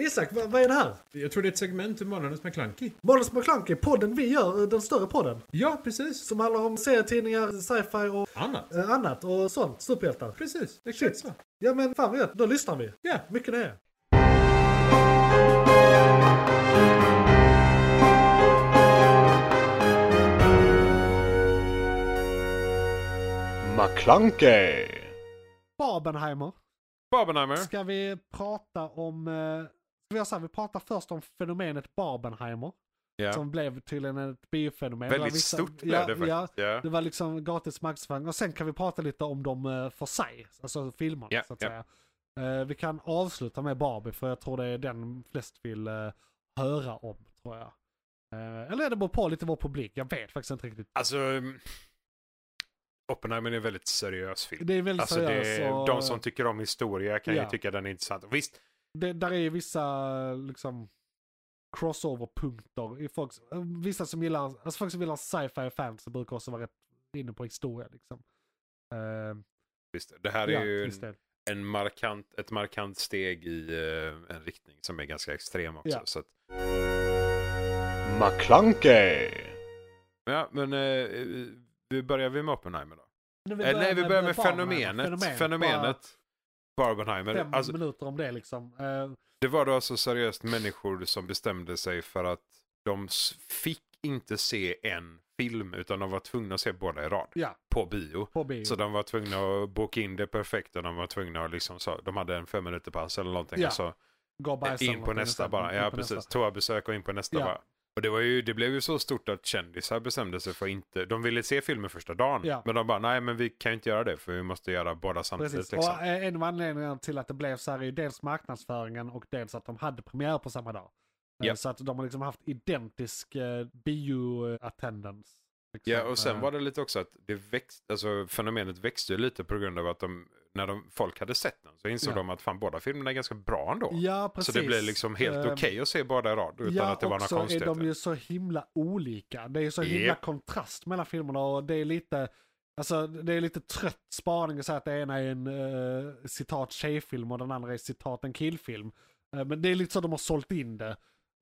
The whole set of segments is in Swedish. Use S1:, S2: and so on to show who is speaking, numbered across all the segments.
S1: Isak, vad, vad är det här?
S2: Jag tror det är ett segment ur Månadens McKlunky.
S1: Måns McClunky, podden vi gör, eh, den större podden.
S2: Ja, precis.
S1: Som handlar om serietidningar, sci-fi och
S2: Annat.
S1: eh, annat och sånt. Superhjältar.
S2: Precis, exakt så.
S1: Ja men fan vad gött, då lyssnar vi.
S2: Ja,
S1: Mycket nöje.
S3: McClunkey!
S1: Barbenheimer.
S2: Barbenheimer.
S1: Ska vi prata om... eh, Ska vi göra så här, vi pratar först om fenomenet Barbenheimer.
S3: Ja.
S1: Som blev tydligen ett biofenomen. Det var
S3: Väldigt
S1: vissa-
S3: stort blev
S1: ja,
S3: det faktiskt.
S1: Ja,
S3: Ja.
S1: det var liksom gratis marknadsföring. Och sen kan vi prata lite om dem eh, för sig. Alltså filmerna
S3: Ja,
S1: så att
S3: ja.
S1: säga. Eh, Vi kan avsluta med Barbie för jag tror det är den flest vill eh, höra om. tror jag. Eh, Eller det beror på lite vår publik. Jag vet faktiskt inte riktigt.
S3: Alltså, mm, Oppenheimer är en väldigt seriös film.
S1: Det är väldigt
S3: Alltså, det
S1: seriöst.
S3: är,
S1: och-
S3: de som tycker om historia kan
S1: Ja.
S3: ju tycka den är intressant. Och Visst,
S1: det, där är ju vissa liksom crossover-punkter i folks, eh, vissa som gillar, alltså folk som gillar sci-fi och fantasy brukar också vara rätt inne på historia liksom. Eh,
S3: visst det här är
S1: ja,
S3: ju
S1: just
S3: en,
S1: det.
S3: en markant, ett markant steg i eh, en riktning som är ganska extrem också.
S1: Ja.
S3: Så att... Ja, men eh, vi börjar vi med Oppenheimer då?
S1: Nu,
S3: Eh, nej, vi börjar med, fenomenet.
S1: Barbenheimer,
S3: fenomenet. Barbenheimer.
S1: Bara fem
S3: Alltså,
S1: minuter om det liksom. Eh,
S3: det var då alltså seriöst människor som bestämde sig för att de s- fick inte se en film utan de var tvungna att se båda i rad
S1: ja,
S3: på bio.
S1: på bio.
S3: Så de var tvungna att boka in det perfekt och de var tvungna att liksom så, de hade en fem minuter pass eller någonting alltså.
S1: Ja.
S3: och så
S1: Gå och bajsa
S3: eh, in
S1: eller
S3: på
S1: någonting
S3: nästa
S1: och sen-
S3: bara.
S1: in
S3: Ja
S1: på
S3: precis,
S1: nästa.
S3: toabesök och in på nästa
S1: Ja.
S3: bara. Och det, var ju, det blev ju så stort att kändisar bestämde sig för att inte, de ville se filmen första dagen.
S1: Ja.
S3: Men de bara, nej men vi kan ju inte göra det för vi måste göra båda samtidigt.
S1: Precis.
S3: Liksom.
S1: Och eh, en av anledningarna till att det blev så här är ju dels marknadsföringen och dels att de hade premiär på samma dag. Eh,
S3: Ja.
S1: Så att de har liksom haft identisk eh, bio-attendance. Liksom.
S3: Ja, och sen var det lite också att det växt, alltså, fenomenet växte ju lite på grund av att de, när de, folk hade sett den så insåg
S1: Ja.
S3: de att fan båda filmerna är ganska bra ändå.
S1: Ja,
S3: så
S1: precis.
S3: det blev liksom helt
S1: Eh,
S3: okej att se båda i rad utan
S1: ja,
S3: att det var
S1: och
S3: några
S1: så är
S3: konstigheter.
S1: de ju så himla olika. Det är ju så himla
S3: Japp.
S1: kontrast mellan filmerna och det är lite, alltså det är lite trött spaning att säga att det ena är en eh, citat tjejfilm och den andra är citat en killfilm. Eh, men det är lite så de har sålt in det.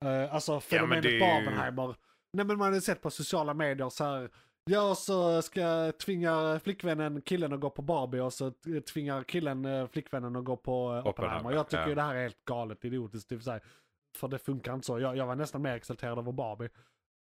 S1: Eh, alltså fenomenet
S3: det är ju-
S1: Barbenheimer. Nej men man har ju sett på sociala medier så här. Ja, och så ska tvinga flickvännen killen att gå på Barbie och så t- tvingar killen eh, flickvännen att gå på eh, Oppenheimer.
S3: Oppenheimer,
S1: Jag tycker
S3: ja.
S1: ju det här är helt galet idiotiskt. Typ så här, för det funkar inte så. Jag, jag var nästan mer exalterad över Barbie.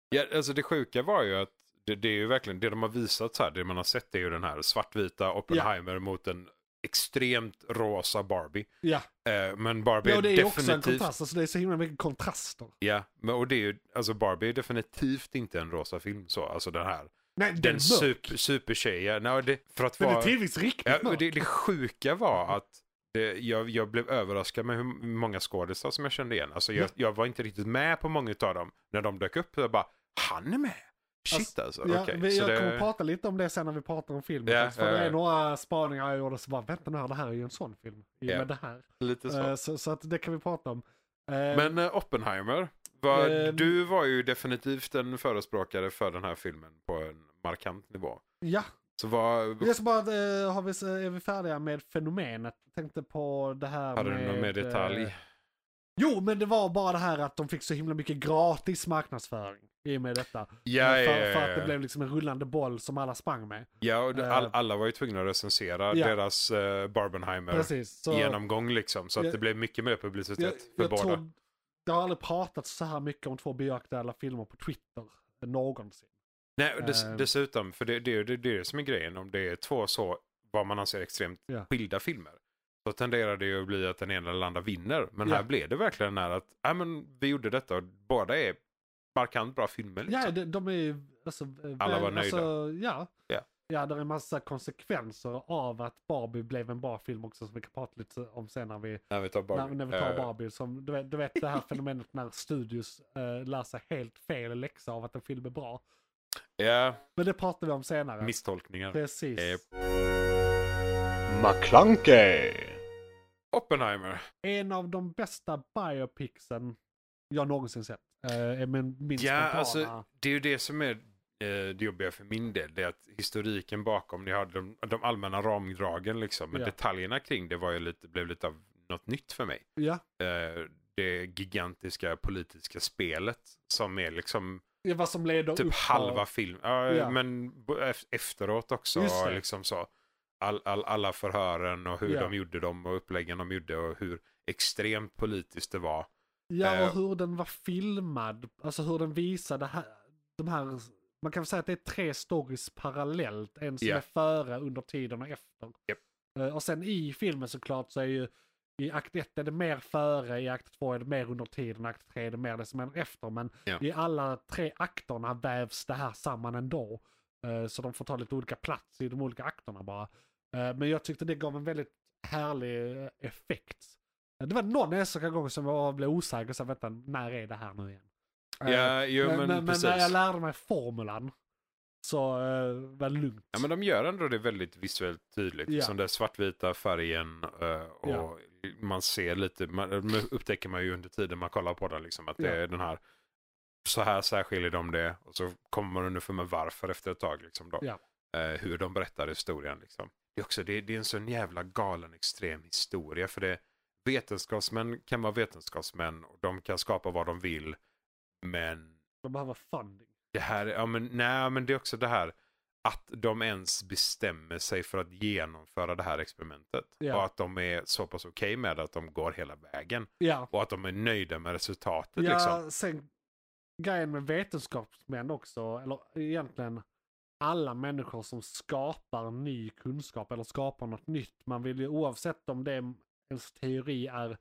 S3: Ja, alltså det sjuka var ju att det, det är ju verkligen det de har visat så här, det man har sett är ju den här svartvita Oppenheimer mot en extremt rosa Barbie.
S1: Ja,
S3: Eh, men Barbie
S1: ja och det är ju också en
S3: definitivt...
S1: kontrast. Alltså, det är så himla mycket kontraster.
S3: Ja, men, och det är ju, alltså Barbie är definitivt inte en rosa film så, alltså den här.
S1: Nej, den,
S3: Den
S1: är mörk.
S3: super, supertjejen, nej, det, för att
S1: Den är
S3: vara...
S1: tidvis riktigt
S3: Ja, men
S1: mörk.
S3: det, det sjuka var att det, jag, jag blev överraskad med hur många skådisar som jag kände igen. Alltså jag,
S1: Ja.
S3: jag var inte riktigt med på många av dem. När de dök upp, jag bara, han är med! Shit
S1: Alltså,
S3: alltså,
S1: Ja,
S3: okej.
S1: vi,
S3: Så
S1: jag
S3: det-
S1: kommer prata lite om det sen när vi pratar om filmen.
S3: Ja,
S1: faktiskt, för det
S3: ja,
S1: är
S3: ja.
S1: några spaningar jag gjorde så bara, vänta nu här, det här är ju en sån film. I och
S3: Ja.
S1: med det här.
S3: Lite så.
S1: Eh, så, så att det kan vi prata om. Eh,
S3: Men eh, Oppenheimer, var,
S1: Ehm.
S3: du var ju definitivt en förespråkare för den här filmen på en markant nivå.
S1: ja,
S3: Så vad,
S1: jag ska bara, eh, har vi, är vi färdiga med fenomenet? Tänkte på det här
S3: hade
S1: med...
S3: du någon mer detalj?
S1: eh, Jo, men det var bara det här att de fick så himla mycket gratis marknadsföring i och med detta.
S3: ja,
S1: för,
S3: ja, ja,
S1: för att det
S3: ja.
S1: blev liksom en rullande boll som alla sprang med.
S3: ja och det- all,
S1: eh,
S3: alla var ju tvungna att recensera
S1: ja.
S3: deras eh, Barbenheimer
S1: Precis. Så
S3: genomgång liksom. Så att
S1: Jag-
S3: det blev mycket mer publicitet för båda.
S1: tror- det har aldrig pratats så här mycket om två bioaktuella filmer på Twitter eh, någonsin.
S3: Nej, och dess,
S1: Eh.
S3: dessutom, för det, det, är ju- det, det är det som är grejen. Om det är två så, vad man anser extremt
S1: Ja.
S3: skilda filmer, så tenderar det ju att bli att den ena eller andra vinner. Men
S1: Ja.
S3: här blev det verkligen när att, ja men vi gjorde detta och båda är markant bra filmer. Liksom.
S1: Ja, de, de är ju... Alltså, eh,
S3: Alla
S1: väl-
S3: var nöjda.
S1: Alltså, ja.
S3: Ja.
S1: Ja, det är en massa konsekvenser av att Barbie blev en bra film också som vi kan prata lite om sen när vi,
S3: När vi tar Barbie.
S1: när, när vi tar
S3: Eh,
S1: Barbie. Som, du, vet, du vet det här fenomenet när studios eh, lär sig helt fel läxa av att en film är bra.
S3: Ja,
S1: Men det pratar vi om senare.
S3: misstolkningar.
S1: Precis.
S3: Eh,
S4: McClunkey!
S3: Oppenheimer.
S1: En av de bästa biopicsen jag någonsin sett. Eh, är min, min
S3: Ja,
S1: spontana.
S3: alltså det är ju det som är eh, det jobbiga för min del. Det är att historiken bakom, ni har de, de allmänna ramdragen liksom. Men
S1: Ja.
S3: detaljerna kring det var ju lite, blev lite av något nytt för mig.
S1: Ja,
S3: Eh, det gigantiska politiska spelet som är liksom
S1: Ja, vad som leder
S3: typ
S1: upp
S3: halva filmen. Ja,
S1: Ja.
S3: Men b- ef- efteråt också.
S1: Just det.
S3: Liksom så. All, all, alla förhören och hur
S1: Ja.
S3: de gjorde dem och uppläggen de gjorde och hur extremt politiskt det var.
S1: Ja,
S3: Eh.
S1: och hur den var filmad. Alltså hur den visade här, de här... Man kan väl säga att det är tre stories parallellt. En som
S3: Ja.
S1: är före, under tiden och efter.
S3: Japp.
S1: Eh, Och sen i filmen såklart så är ju... I akt 1 är det mer före, i akt 2 är det mer under tiden, i akt 3 är det mer det som händer efter. Men
S3: Ja.
S1: i alla tre akterna vävs det här samman ändå. Eh, Så de får ta lite olika plats i de olika akterna bara. Eh, Men jag tyckte det gav en väldigt härlig eh, effekt. Eh, Det var någon enstaka gång som jag blev osäker och sa vänta, när är det här nu igen? Eh,
S3: Ja, jo, men,
S1: men, men, men
S3: precis.
S1: när jag lärde mig formulan så eh, var det lugnt.
S3: Ja, men de gör ändå det väldigt visuellt tydligt.
S1: Ja.
S3: Som den svartvita färgen eh, och
S1: Ja.
S3: man ser lite, man, man upptäcker man ju under tiden man kollar på den liksom att det
S1: Ja.
S3: är den här, så här särskiljer de det och så kommer man underfund med varför efter ett tag liksom då.
S1: Ja.
S3: Eh, hur de berättar historien liksom. Det är också, det, det är en sån jävla galen extrem historia för det, vetenskapsmän kan vara vetenskapsmän och de kan skapa vad de vill men
S1: De behöver funding.
S3: det här, ja men nej men det är också det här att de ens bestämmer sig för att genomföra det här experimentet.
S1: Ja.
S3: Och att de är så pass okej med att de går hela vägen.
S1: Ja,
S3: Och att de är nöjda med resultatet
S1: ja
S3: liksom.
S1: sen grejen med vetenskapsmän också, eller egentligen alla människor som skapar ny kunskap eller skapar något nytt. Man vill ju oavsett om det ens teori är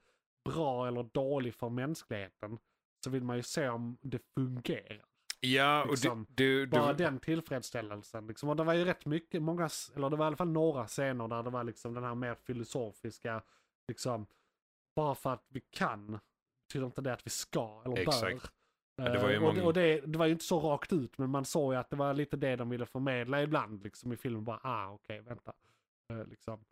S1: bra eller dålig för mänskligheten så vill man ju se om det fungerar.
S3: Ja, och
S1: liksom,
S3: du, du,
S1: Bara
S3: du,
S1: den tillfredsställelsen. Liksom. Och det var ju rätt mycket, många, s- eller det var i alla fall några scener där det var liksom den här mer filosofiska, liksom, bara för att vi kan betyder inte det att vi ska eller
S3: Exakt.
S1: bör.
S3: Ja, det var ju
S1: Eh, och det,
S3: många-
S1: och det, det var ju inte så rakt ut, men man såg ju att det var lite det de ville förmedla ibland liksom, i filmen. Bara, ah okej, vänta. Eh, liksom.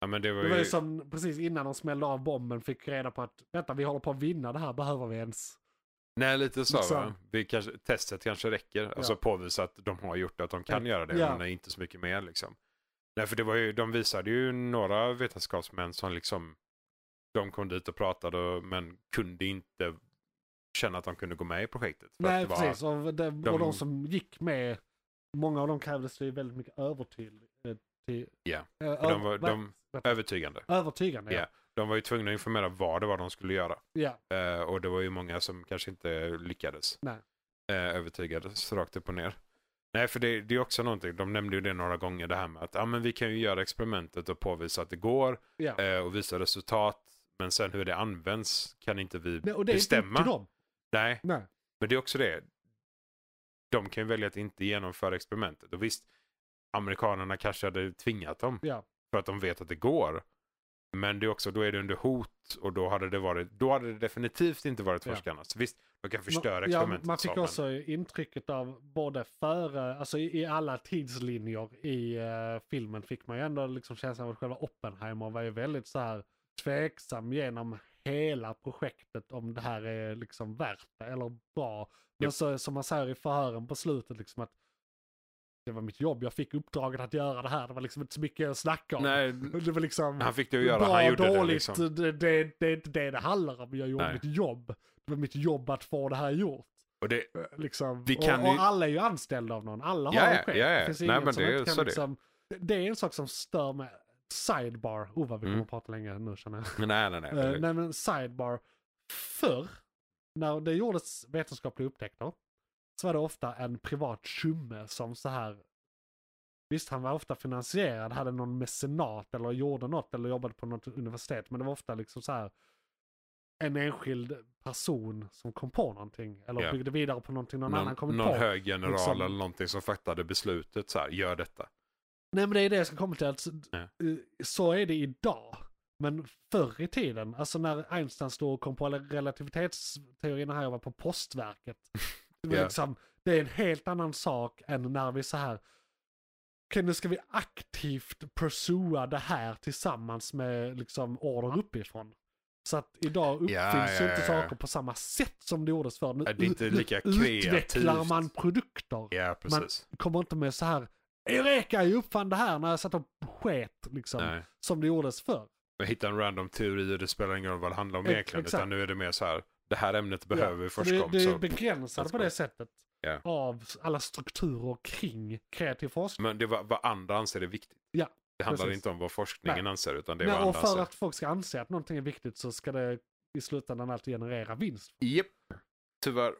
S3: ja, men det var
S1: Det var ju
S3: ju,
S1: som precis innan de smällde av bomben fick reda på att vänta, vi håller på att vinna det här, behöver vi ens?
S3: nej lite så
S1: liksom-
S3: va? Vi kanske, testet kanske räcker. Alltså påvisa att de har gjort det, att de kan göra det.
S1: Ja.
S3: Men inte så mycket mer liksom. Nej, för det var ju, de visade ju några vetenskapsmän som liksom, de kom dit och pratade och- men kunde inte känna att de kunde gå med i projektet. För
S1: Nej,
S3: att det var,
S1: precis. Och de, och de
S3: de-
S1: som gick med, många av dem krävdes det ju väldigt mycket övertydlig. Till,
S3: Ja,
S1: eh,
S3: för
S1: över-
S3: de var,
S1: va-
S3: de,
S1: va-
S3: övertygande.
S1: övertygande, ja.
S3: Ja. De var ju tvungna att informera vad det var de skulle göra.
S1: ja.
S3: Eh, och det var ju många som kanske inte lyckades.
S1: Nej.
S3: Eh, övertygades rakt upp och ner. Nej, för det, det är också någonting. De nämnde ju det några gånger det här med att ja men vi kan ju göra experimentet och påvisa att det går
S1: ja.
S3: eh, och visa resultat. Men sen hur det används kan inte vi
S1: Nej, och det är inte upp
S3: bestämma.
S1: till dem.
S3: Nej,
S1: Nej.
S3: men det är också det. De kan ju välja att inte genomföra experimentet. Och visst, amerikanerna kanske hade tvingat dem
S1: Ja.
S3: för att de vet att det går. Men det är också, då är det under hot och då hade det, varit, då hade det definitivt inte varit
S1: Ja.
S3: forskarnas. Visst, de kan förstöra
S1: Ja,
S3: experimentet.
S1: Man fick
S3: sa man.
S1: också intrycket av både före, alltså i, i alla tidslinjer i eh, filmen fick man ju ändå liksom känslan av att själva Oppenheimer var ju väldigt så här tveksam genom hela projektet om det här är liksom värt det eller bra. Men
S3: Japp.
S1: så, som man säger i förhören på slutet liksom att det var mitt jobb, jag fick uppdraget att göra det här, det var liksom inte så mycket att snacka om.
S3: Nej,
S1: Det var liksom...
S3: han fick det att göra.
S1: Bra,
S3: han gjorde
S1: dåligt,
S3: det liksom.
S1: det, det, det är inte det det handlar om. Jag gjorde
S3: Nej.
S1: mitt jobb. Det var mitt jobb att få det här gjort.
S3: Och det,
S1: Eh, Liksom.
S3: Vi
S1: och,
S3: kan
S1: och
S3: ju-
S1: alla är ju anställda av någon. Alla
S3: Ja,
S1: har en
S3: ja,
S1: chef.
S3: ja, ja.
S1: Det finns
S3: Nej,
S1: ingen
S3: men
S1: som
S3: det är
S1: inte kan
S3: så det är.
S1: liksom... det. det är en sak som stör mig. Sidebar. Oh vad vi kommer
S3: Mm.
S1: att prata länge nu känner jag.
S3: nej, nej, nej.
S1: Eh,
S3: det-
S1: nej men sidebar. Förr, när det gjordes vetenskapliga upptäckter, så var det ofta en privat tjumme som så här Visst, han var ofta finansierad, hade någon mecenat eller gjorde något eller jobbade på något universitet. Men det var ofta liksom så här en enskild person som kom på någonting eller
S3: Ja.
S1: byggde vidare på någonting någon, annan kommit
S3: någon
S1: på.
S3: någon hög general
S1: liksom.
S3: eller någonting som fattade beslutet så här, gör detta.
S1: Nej men det är det jag ska komma till. Alltså,
S3: Ja.
S1: eh, Så är det idag. Men förr i tiden, alltså när Einstein stod och kom på relativitetsteorin när jag var på postverket. Det, var
S3: Ja.
S1: liksom, det är en helt annan sak än när vi så här Okej, nu ska vi aktivt pursua det här tillsammans med liksom order uppifrån. Så att idag uppfylls
S3: Ja, ja,
S1: ju inte
S3: ja, ja.
S1: saker på samma sätt som det gjordes förr. Nu
S3: Ja, det är inte
S1: ut-
S3: lika
S1: utvecklar
S3: kreativt.
S1: man produkter
S3: Ja, precis.
S1: kommer inte med så här Eureka, jag uppfann det här när jag satt och sket liksom.
S3: nej.
S1: Som det gjordes förr.
S3: Och hitta en random teori och det spelar ingen roll vad det handlar om
S1: Ex-
S3: egentligen.
S1: exakt.
S3: Utan nu är det mer så här, det här ämnet behöver vi
S1: Så
S3: forska om.
S1: Det, det är
S3: Så.
S1: begränsat på det sättet.
S3: Ja.
S1: Av alla strukturer kring kreativ forskning.
S3: Men det var vad andra anser är viktigt.
S1: Ja,
S3: det handlar
S1: precis.
S3: inte om vad forskningen anser utan det är
S1: Nej,
S3: vad
S1: och
S3: andra
S1: för
S3: anser.
S1: att folk ska anse att någonting är viktigt så ska det i slutändan alltid generera vinst.
S3: Japp, tyvärr.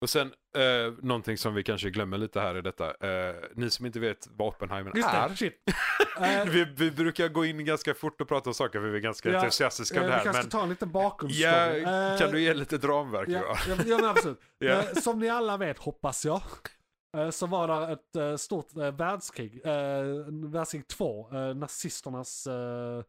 S3: Och sen eh, någonting som vi kanske glömmer lite här i detta. Eh, ni som inte vet vad Oppenheimer
S1: Just
S3: är.
S1: det, shit. Eh,
S3: Vi, vi brukar gå in ganska fort och prata om saker för vi är ganska
S1: Ja,
S3: entusiastiska om
S1: eh,
S3: det
S1: vi
S3: här.
S1: kanske
S3: Men
S1: tar en liten bakgrundsstory.
S3: ja,
S1: Eh,
S3: kan du ge lite dramverk?
S1: Ja,
S3: Johan?
S1: ja, ja men absolut.
S3: Ja.
S1: Eh, Som ni alla vet, hoppas jag, eh, så var det ett eh, stort eh, världskrig, eh, världskrig 2, eh, nazisternas eh,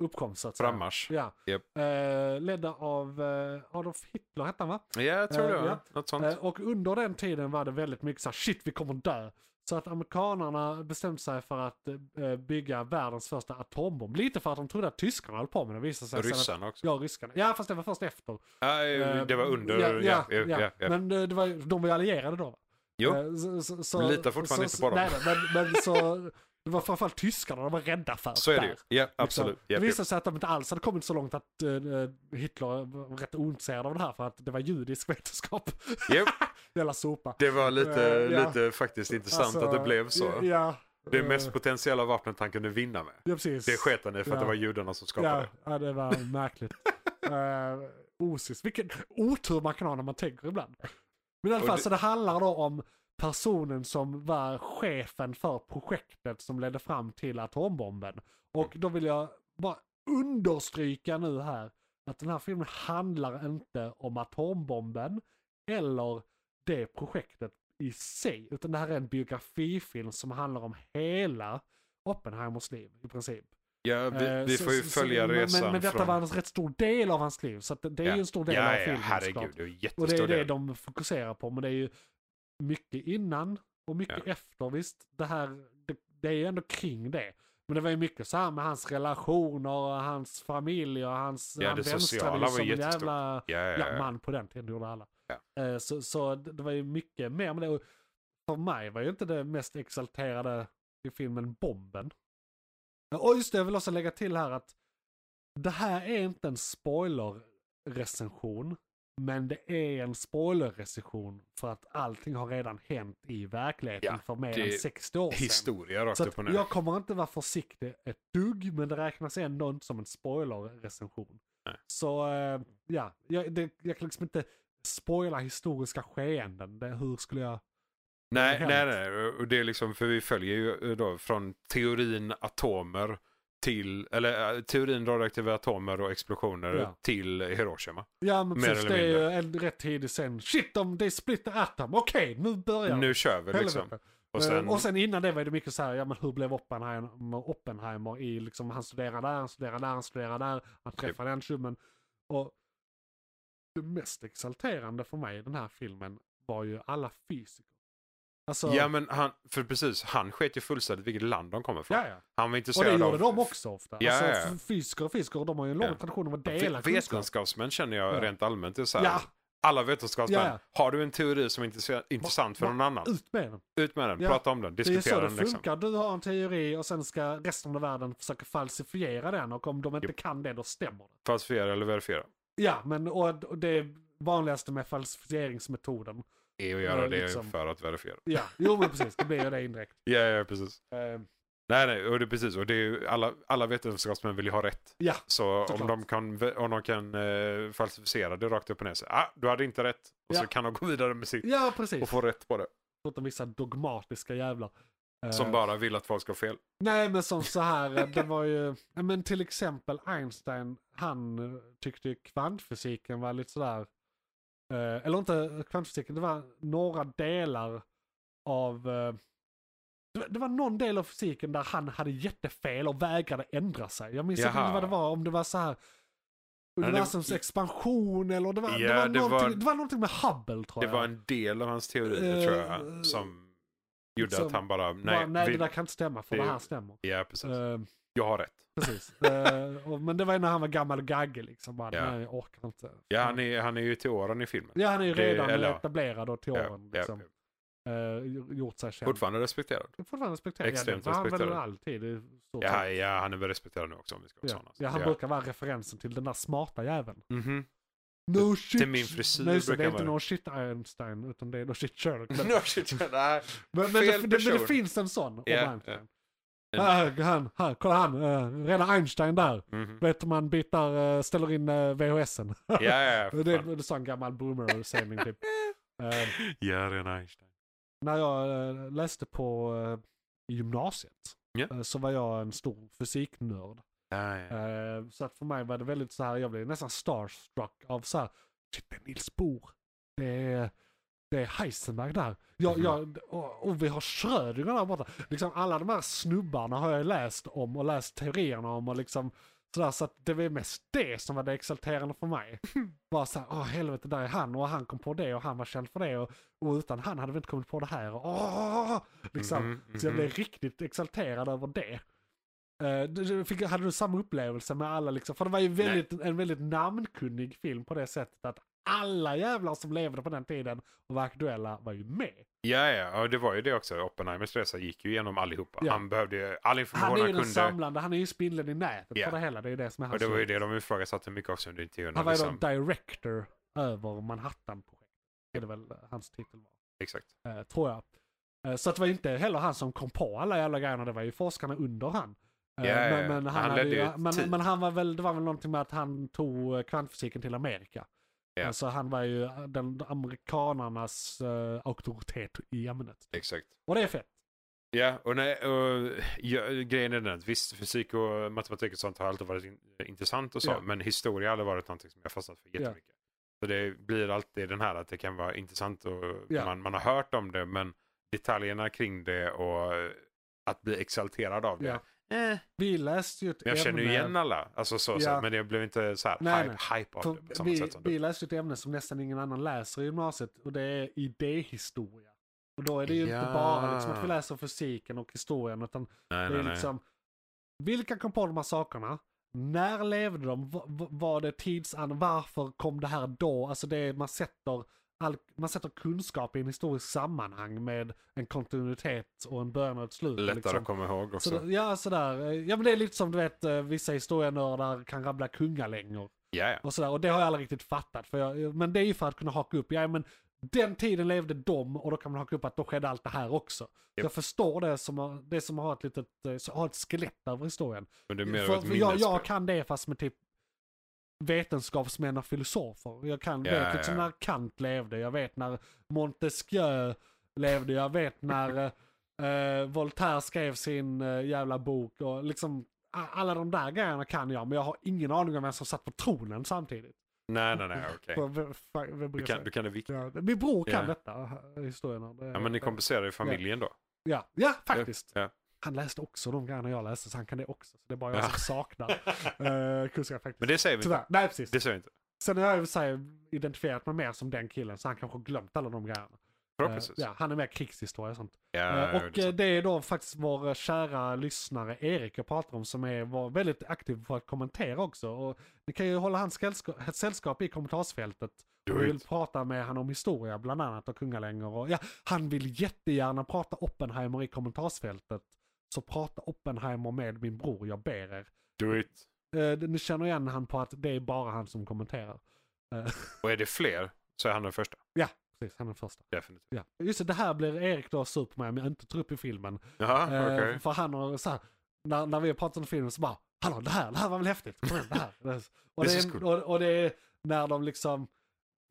S1: uppkomst så att säga.
S3: Frammarsch.
S1: Ja.
S3: Japp.
S1: Eh, ledda av eh, Adolf Hitler hette han va?
S3: Ja, jag tror
S1: Eh, ja.
S3: det. Ja. Något sånt.
S1: Eh, och under den tiden var det väldigt mycket så här, shit vi kommer dö. Så att amerikanarna bestämde sig för att eh, bygga världens första atombomb. Lite för att de trodde att tyskarna höll på med det. Visade sig sen Att,
S3: Ryssarna också.
S1: ja, ryssarna. Ja, fast det var först efter.
S3: Nej,
S1: Eh,
S3: det var under...
S1: ja,
S3: ja, ja, ja,
S1: Men eh, det var, ju- de var ju allierade då. va?
S3: Jo.
S1: Eh, Så, så, så,
S3: Men lita fortfarande
S1: så,
S3: inte på dem.
S1: Nej, nej, men, men så, det var framförallt tyskarna de var rädda för.
S3: Så är det
S1: där,
S3: ju. Ja, absolut.
S1: Liksom.
S3: Ja,
S1: det
S3: ja.
S1: visade sig att de inte alls hade kommit så långt att eh, Hitler var rätt ointresserad av det här för att det var judisk vetenskap.
S3: Ja,
S1: Jävla sopa.
S3: Det var lite,
S1: Eh, ja.
S3: lite faktiskt intressant
S1: Alltså,
S3: att det blev så.
S1: Ja.
S3: Det
S1: eh,
S3: mest potentiella vapnet han kunde vinna med.
S1: Ja, precis.
S3: Det sket han i för att
S1: Ja.
S3: det var judarna som skapade
S1: ja,
S3: det.
S1: ja, det var märkligt. uh, osis. Vilken otur man kan ha när man tänker ibland. Men i alla
S3: Och
S1: fall,
S3: det-
S1: så det handlar då om personen som var chefen för projektet som ledde fram till atombomben. Och då vill jag bara understryka nu här att den här filmen handlar inte om atombomben eller det projektet i sig, utan det här är en biografifilm som handlar om hela Oppenheimers liv i princip.
S3: Ja, vi,
S1: Eh,
S3: vi
S1: så-
S3: får ju
S1: så- så-
S3: följa
S1: men-
S3: resan
S1: Men, men detta
S3: från...
S1: var en rätt stor del av hans liv, så att det, det är
S3: Ja.
S1: ju en stor del
S3: ja,
S1: av
S3: ja,
S1: filmen
S3: herregud.
S1: såklart.
S3: Det är ju
S1: Och det
S3: jättestor
S1: är det
S3: del.
S1: de fokuserar på, men det är ju mycket innan och mycket efter. Visst, det här, det, det är ju ändå kring det. Men det var ju mycket så här med hans relationer och hans familj och hans...
S3: Ja,
S1: han
S3: det
S1: vänstrade
S3: sociala
S1: ju
S3: var
S1: som en
S3: jättestort.
S1: jävla
S3: Ja, ja,
S1: ja,
S3: ja.
S1: man på den tiden, gjorde alla.
S3: Ja.
S1: Eh, Så, så det det var ju mycket mer med det. Och för mig var ju inte det mest exalterade i filmen bomben. Och just det, jag vill också lägga till här att det här är inte en spoilerrecension. Men det är en spoilerrecension för att allting har redan hänt i verkligheten
S3: Ja,
S1: för mer
S3: det
S1: än
S3: är
S1: 60 år sedan.
S3: Historia rakt
S1: Så
S3: upp och
S1: att
S3: ner.
S1: jag kommer inte vara försiktig ett dugg, men det räknas ändå inte som en spoilerrecension.
S3: Nej.
S1: Så eh, ja, jag, det, jag kan liksom inte spoila historiska skeenden. Det, hur skulle jag...
S3: Nej,
S1: hänt.
S3: nej, nej. Och det är liksom, för vi följer ju då från teorin atomer till, eller eh, teorin radioaktiva atomer och explosioner
S1: Ja.
S3: till Hiroshima.
S1: Ja men
S3: Mer
S1: precis,
S3: eller
S1: det är ju en rätt tidig sen. Shit, om det är split atom, okej nu börjar
S3: Nu kör vi liksom.
S1: Helvete.
S3: Och sen,
S1: Eh, och sen innan det var det mycket så här, ja men hur blev Oppenheimer, Oppenheimer i liksom, han studerar där, han studerar där, han studerar där, han
S3: Typ.
S1: träffar den tjommen. Och det mest exalterande för mig i den här filmen var ju alla fysiker. Alltså,
S3: ja men han, för precis, han sket ju fullständigt vilket land de kommer från.
S1: ja, ja.
S3: Han var intresserad
S1: Och det gjorde
S3: av...
S1: de också ofta.
S3: Ja,
S1: alltså,
S3: ja, ja.
S1: f- Fysiker och fysiker, de har ju en lång
S3: Ja.
S1: tradition av att
S3: Ve-
S1: dela kunskap.
S3: Vetenskapsmän känner jag
S1: Ja.
S3: rent allmänt. Det är så här,
S1: Ja.
S3: Alla vetenskapsmän,
S1: Ja, ja.
S3: har du en teori som är intresse- intressant för
S1: va-
S3: någon annan,
S1: Ut med den.
S3: ut med den,
S1: Ja.
S3: prata om den,
S1: Det är så
S3: diskutera
S1: det
S3: den. Liksom.
S1: funkar. Du har en teori och sen ska resten av världen försöka falsifiera den och om de inte kan det då stämmer det.
S3: Falsifiera eller verifiera.
S1: Ja, men och och det vanligaste med falsifieringsmetoden.
S3: Är E att göra
S1: Ja,
S3: det
S1: liksom.
S3: för att verifiera.
S1: Ja, jo men precis, det blir ju det indirekt.
S3: Ja, ja precis.
S1: Eh,
S3: Nej, nej, och det, precis. Och det är ju, alla, alla vetenskapsmän vill ju ha rätt.
S1: Ja,
S3: Så om
S1: såklart.
S3: de kan, ve- om de kan eh, falsificera det rakt upp och ner så, ah, du hade inte rätt. Och
S1: Ja.
S3: så kan de gå vidare med sitt
S1: ja precis.
S3: och få rätt på det.
S1: Förutom vissa dogmatiska jävlar. Eh,
S3: Som bara vill att folk ska ha fel.
S1: Nej men som så här, eh, det var ju, ja, men till exempel Einstein, han eh, tyckte ju kvantfysiken var lite sådär, eh, eller inte kvantfysiken, det var några delar av, eh, det var- det var någon del av fysiken där han hade jättefel och vägrade ändra sig. Jag minns inte
S3: Jaha.
S1: vad det var, om det var så här
S3: det-
S1: universums expansion eller det var,
S3: Ja,
S1: det, var
S3: det
S1: någonting,
S3: var-
S1: det var någonting med Hubble tror
S3: Det
S1: jag.
S3: var en del av hans teorier
S1: Eh,
S3: tror jag som gjorde
S1: som
S3: att han bara,
S1: Bara,
S3: nej,
S1: nej
S3: vi,
S1: det där kan inte stämma för
S3: det-
S1: det här stämmer.
S3: ja precis,
S1: Eh,
S3: jag har rätt.
S1: Precis. Eh, och, men det var ju när han var gammal och gaggig liksom. Han,
S3: Ja.
S1: Nej, jag orkar inte.
S3: Ja, han är, han är ju till åren i filmen.
S1: ja, han är ju
S3: det-
S1: redan
S3: eller ja.
S1: etablerad och till
S3: Ja,
S1: åren.
S3: ja,
S1: liksom.
S3: ja.
S1: eh, gjort sig känd.
S3: Fortfarande respekterad.
S1: Det är Fortfarande respekterad.
S3: Extremt
S1: ja, det var Han väl
S3: respekterad.
S1: alltid. i stort
S3: Ja,
S1: sett.
S3: ja, han är väl respekterad nu också om vi ska vara
S1: ja.
S3: sådana.
S1: ja, han
S3: Ja.
S1: brukar vara referensen till den där smarta jäveln.
S3: Mhm.
S1: No shit.
S3: min frisyr
S1: Nej, så det
S3: brukar
S1: är inte
S3: vara-
S1: no shit Einstein, utan det är no shit Sherlock. Men,
S3: No shit, nej.
S1: men, men, det,
S3: Fel
S1: men det
S3: person.
S1: finns en sån. om
S3: Ja,
S1: Einstein.
S3: ja.
S1: Ah, han, han, kolla han, eh, redan Einstein där.
S3: Mhm.
S1: Vet du, man bitar, eh, ställer in eh, VHSen.
S3: Ja, ja,
S1: det,
S3: för
S1: det
S3: fan.
S1: är en sån gammal boomer-sägning typ. Eh,
S3: Ja, rena Einstein.
S1: när jag eh, läste på eh, i gymnasiet
S3: Ja.
S1: eh, så var jag en stor fysiknörd.
S3: Ja, ja.
S1: Eh, så att för mig var det väldigt så här, jag blev nästan starstruck av så här, shit det är Niels Bohr, det är, det är Heisenberg där, jag,
S3: Mhm.
S1: jag, och, och vi har Schrödinger där borta. Liksom alla de här snubbarna har jag läst om och läst teorierna om och liksom sådär, så att det var mest det som var det exalterande för mig. Bara såhär, åh helvete där är han och han kom på det och han var känd för det och, och utan han hade vi inte kommit på det här. Och, åh, liksom.
S3: Mhm,
S1: Så jag
S3: mhm.
S1: blev riktigt exalterad över det. Eh, du- du fick, hade du samma upplevelse med alla liksom? För det var ju väldigt, en väldigt namnkunnig film på det sättet att alla jävlar som levde på den tiden och var aktuella var ju med.
S3: Ja, ja, ja, det var ju det också. Oppenheimers resa gick ju igenom allihopa.
S1: Ja.
S3: Han behövde ju all information
S1: Han
S3: han,
S1: är ju den
S3: kunde.
S1: samlande, han är ju spindeln i nätet
S3: Ja.
S1: för det hela. Det är ju det som är
S3: Och
S1: hans
S3: det var ju
S1: roll.
S3: det de ifrågasatte mycket också under intervjuerna.
S1: alltså. Han var ju
S3: Liksom.
S1: då director över Manhattan-projektet. Det är väl eh, hans titel var.
S3: Exakt.
S1: Eh, tror jag. Eh, så att det var inte heller han som kom på alla jävla grejerna, det var ju forskarna under han. Eh,
S3: Ja, ja, ja.
S1: men, men, han
S3: Han
S1: hade
S3: ledde
S1: ju,
S3: ju typ- ett
S1: men,
S3: team.
S1: men han var väl, det var väl någonting med att han tog eh, kvantfysiken till Amerika.
S3: Ja.
S1: Eh, Så han var ju eh, den amerikanarnas eh, auktoritet i ämnet.
S3: Exakt.
S1: Och det är fett.
S3: Ja, och, nej, och ja, grejen är den att visst, fysik och matematik och sånt har alltid varit in, intressant och så,
S1: Ja.
S3: men historia har aldrig varit någonting som jag fastnat för
S1: Ja.
S3: jättemycket. Så det blir alltid den här att det kan vara intressant och
S1: Ja.
S3: man, man har hört om det, men detaljerna kring det och att bli exalterad av det.
S1: Ja.
S3: Eh,
S1: Vi läste ju ett
S3: jag känner ju
S1: ämne-
S3: igen alla, alltså så,
S1: Ja.
S3: så, men jag blev inte så här
S1: Nej,
S3: hype, hype av det på
S1: För
S3: samma
S1: vi,
S3: sätt som
S1: vi
S3: du.
S1: läser ett ämne som nästan ingen annan läser i gymnasiet och det är idéhistoria. Och då är det ju inte
S3: Ja.
S1: bara liksom att vi läser fysiken och historien utan
S3: Nej,
S1: det
S3: nej,
S1: är
S3: nej.
S1: liksom, vilka kom på de här sakerna? När levde de? Va- va- Var det tidsan? Varför kom det här då? Alltså det är, man sätter, all, man sätter kunskap i en historisk sammanhang med en kontinuitet och en början och ett slut.
S3: Lättare
S1: liksom.
S3: att komma ihåg också.
S1: Så, ja, sådär. Ja, men det är lite som du vet, eh, vissa historienördar kan rabbla kungalängor.
S3: Ja, ja.
S1: Och, sådär. och det har jag aldrig riktigt fattat. För jag, men det är ju för att kunna haka upp, ja men den tiden levde de och då kan man haka upp att då skedde allt det här också. Så
S3: Japp.
S1: jag förstår det som, har- det som har ett litet, eh, så har ett skelett över historien.
S3: Men det är mer av
S1: För,
S3: ett
S1: för jag,
S3: minnesspel.
S1: jag kan det fast med typ vetenskapsmän och filosofer. Jag kan,
S3: Ja,
S1: vet
S3: ja,
S1: liksom
S3: ja.
S1: när Kant levde, jag vet när Montesquieu levde, jag vet när eh, eh, Voltaire skrev sin eh, jävla bok och liksom a- alla de där grejerna kan jag men jag har ingen aning om vem som satt på tronen samtidigt.
S3: Nej, nej, nej, okej.
S1: För vem- fan, vem bryr
S3: Du kan, du
S1: sig?
S3: kan det viktiga.
S1: Ja, Min bror kan
S3: Ja.
S1: detta, eh, historien.
S3: Ja, men ni kompenserar i familjen då.
S1: ja, ja, faktiskt.
S3: Ja.
S1: Han läste också de grejerna jag läste så han kan det också. Så det är bara jag
S3: Ja.
S1: som saknar eh, kunskap faktiskt.
S3: Men det säger vi inte.
S1: Tyvärr. Eh, Nej, precis.
S3: Det säger vi inte.
S1: Sen har jag i och för sig identifierat mig mer som den killen, så han kanske har glömt alla de grejerna.
S3: Förhoppningsvis.
S1: Eh, ja, han är mer krigshistoria och sånt.
S3: Ja,
S1: Eh, och
S3: det
S1: eh,
S3: är sant.
S1: det är då faktiskt vår eh, kära lyssnare Erik jag pratar om som är, var väldigt aktiv för att kommentera också. Och ni kan ju hålla hans sällska- sällskap i kommentarsfältet.
S3: Do
S1: Och vi
S3: it.
S1: vill prata med han om historia bland annat och kungalängor. Och, ja, han vill jättegärna prata Oppenheimer i kommentarsfältet. Så prata Oppenheimer med min bror, jag ber er.
S3: Do it.
S1: Eh, ni känner igen han på att det är bara han som kommenterar.
S3: Och är det fler så är han den första.
S1: Precis, han är den första.
S3: Definitivt.
S1: Ja. Just det, det här blir Erik då sur på mig om jag inte tar upp i filmen.
S3: Jaha,
S1: Eh,
S3: Ah, okej.
S1: För han har så här, när, när vi har pratat om filmen så bara, hallå det här, det här var väl häftigt, kom igen det här. och, det
S3: This
S1: är,
S3: is cool.
S1: och, och det är när de liksom,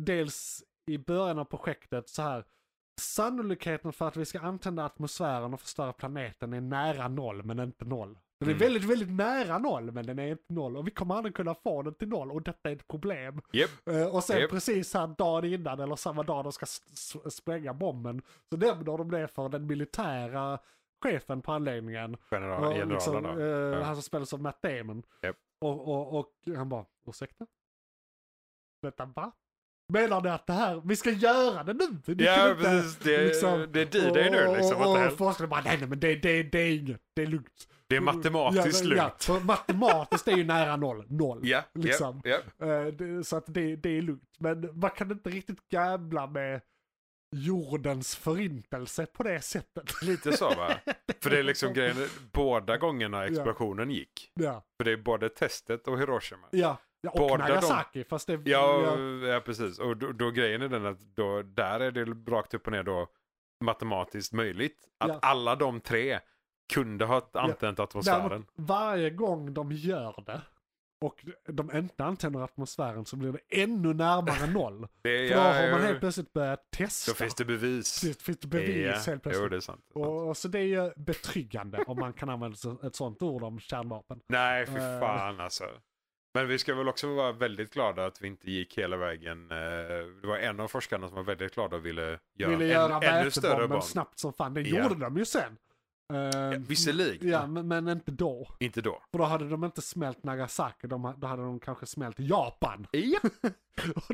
S1: dels i början av projektet så här, sannolikheten för att vi ska antända atmosfären och förstöra planeten är nära noll men inte noll. Den är
S3: Mm.
S1: väldigt, väldigt nära noll men den är inte noll och vi kommer aldrig kunna få den till noll och detta är ett problem.
S3: Japp.
S1: Eh, Och sen
S3: Japp.
S1: precis här dagen innan eller samma dag de ska s- s- spränga bomben så nämner de det för den militära chefen på anläggningen.
S3: General,
S1: Och
S3: generalen
S1: liksom,
S3: då.
S1: eh,
S3: Ja.
S1: Han som spelas av Matt Damon.
S3: Japp.
S1: Och, och, och han bara, ursäkta? Vänta, va? Menar ni att det här, vi ska göra det nu? Ni kan
S3: Ja,
S1: inte-
S3: precis. Det,
S1: liksom-
S3: det är D-Day nu liksom.
S1: Och,
S3: What the
S1: och,
S3: hell?
S1: och forskarna bara, nej, nej men det, det, det är inget, det är lugnt.
S3: Det är matematiskt
S1: ja, ja,
S3: lugnt.
S1: för matematiskt är ju nära noll, noll.
S3: Ja,
S1: liksom.
S3: ja, ja.
S1: Eh, det, så att det, det är lugnt. Men man kan inte riktigt gambla med jordens förintelse på det sättet.
S3: Lite så va? För det är liksom grejen, båda gångerna explosionen gick.
S1: Ja,
S3: För det är både testet och Hiroshima.
S1: ja. ja och
S3: Båda de-
S1: Nagasaki, fast det...
S3: Ja, ja precis. Och då, då grejen är den att då, där är det rakt upp och ner då matematiskt möjligt. Att
S1: Ja.
S3: alla de tre kunde ha antänt atmosfären.
S1: Däremot, varje gång de gör det och de inte antänder atmosfären så blir det ännu närmare noll.
S3: Det,
S1: För då har man
S3: ja,
S1: helt plötsligt börjat testa.
S3: då finns det bevis.
S1: Precis, finns det bevis
S3: Ja,
S1: helt plötsligt.
S3: Jo, det är sant. Det är sant.
S1: Och, och så det är ju betryggande om man kan använda så- ett sånt ord om kärnvapen.
S3: Nej,
S1: Eh.
S3: för fan alltså. Men vi ska väl också vara väldigt glada att vi inte gick hela vägen. eh, Det var en av forskarna som var väldigt glad och ville göra
S1: Ville
S3: en
S1: göra
S3: ännu större
S1: vätebomben
S3: bomb.
S1: snabbt som fan. Det
S3: Ja.
S1: gjorde de ju sen. Eh,
S3: Ja, Visserligen,
S1: ja, men, men inte då.
S3: inte då.
S1: För då hade de inte smält Nagasaki, de, då hade de kanske smält Japan.
S3: Ja.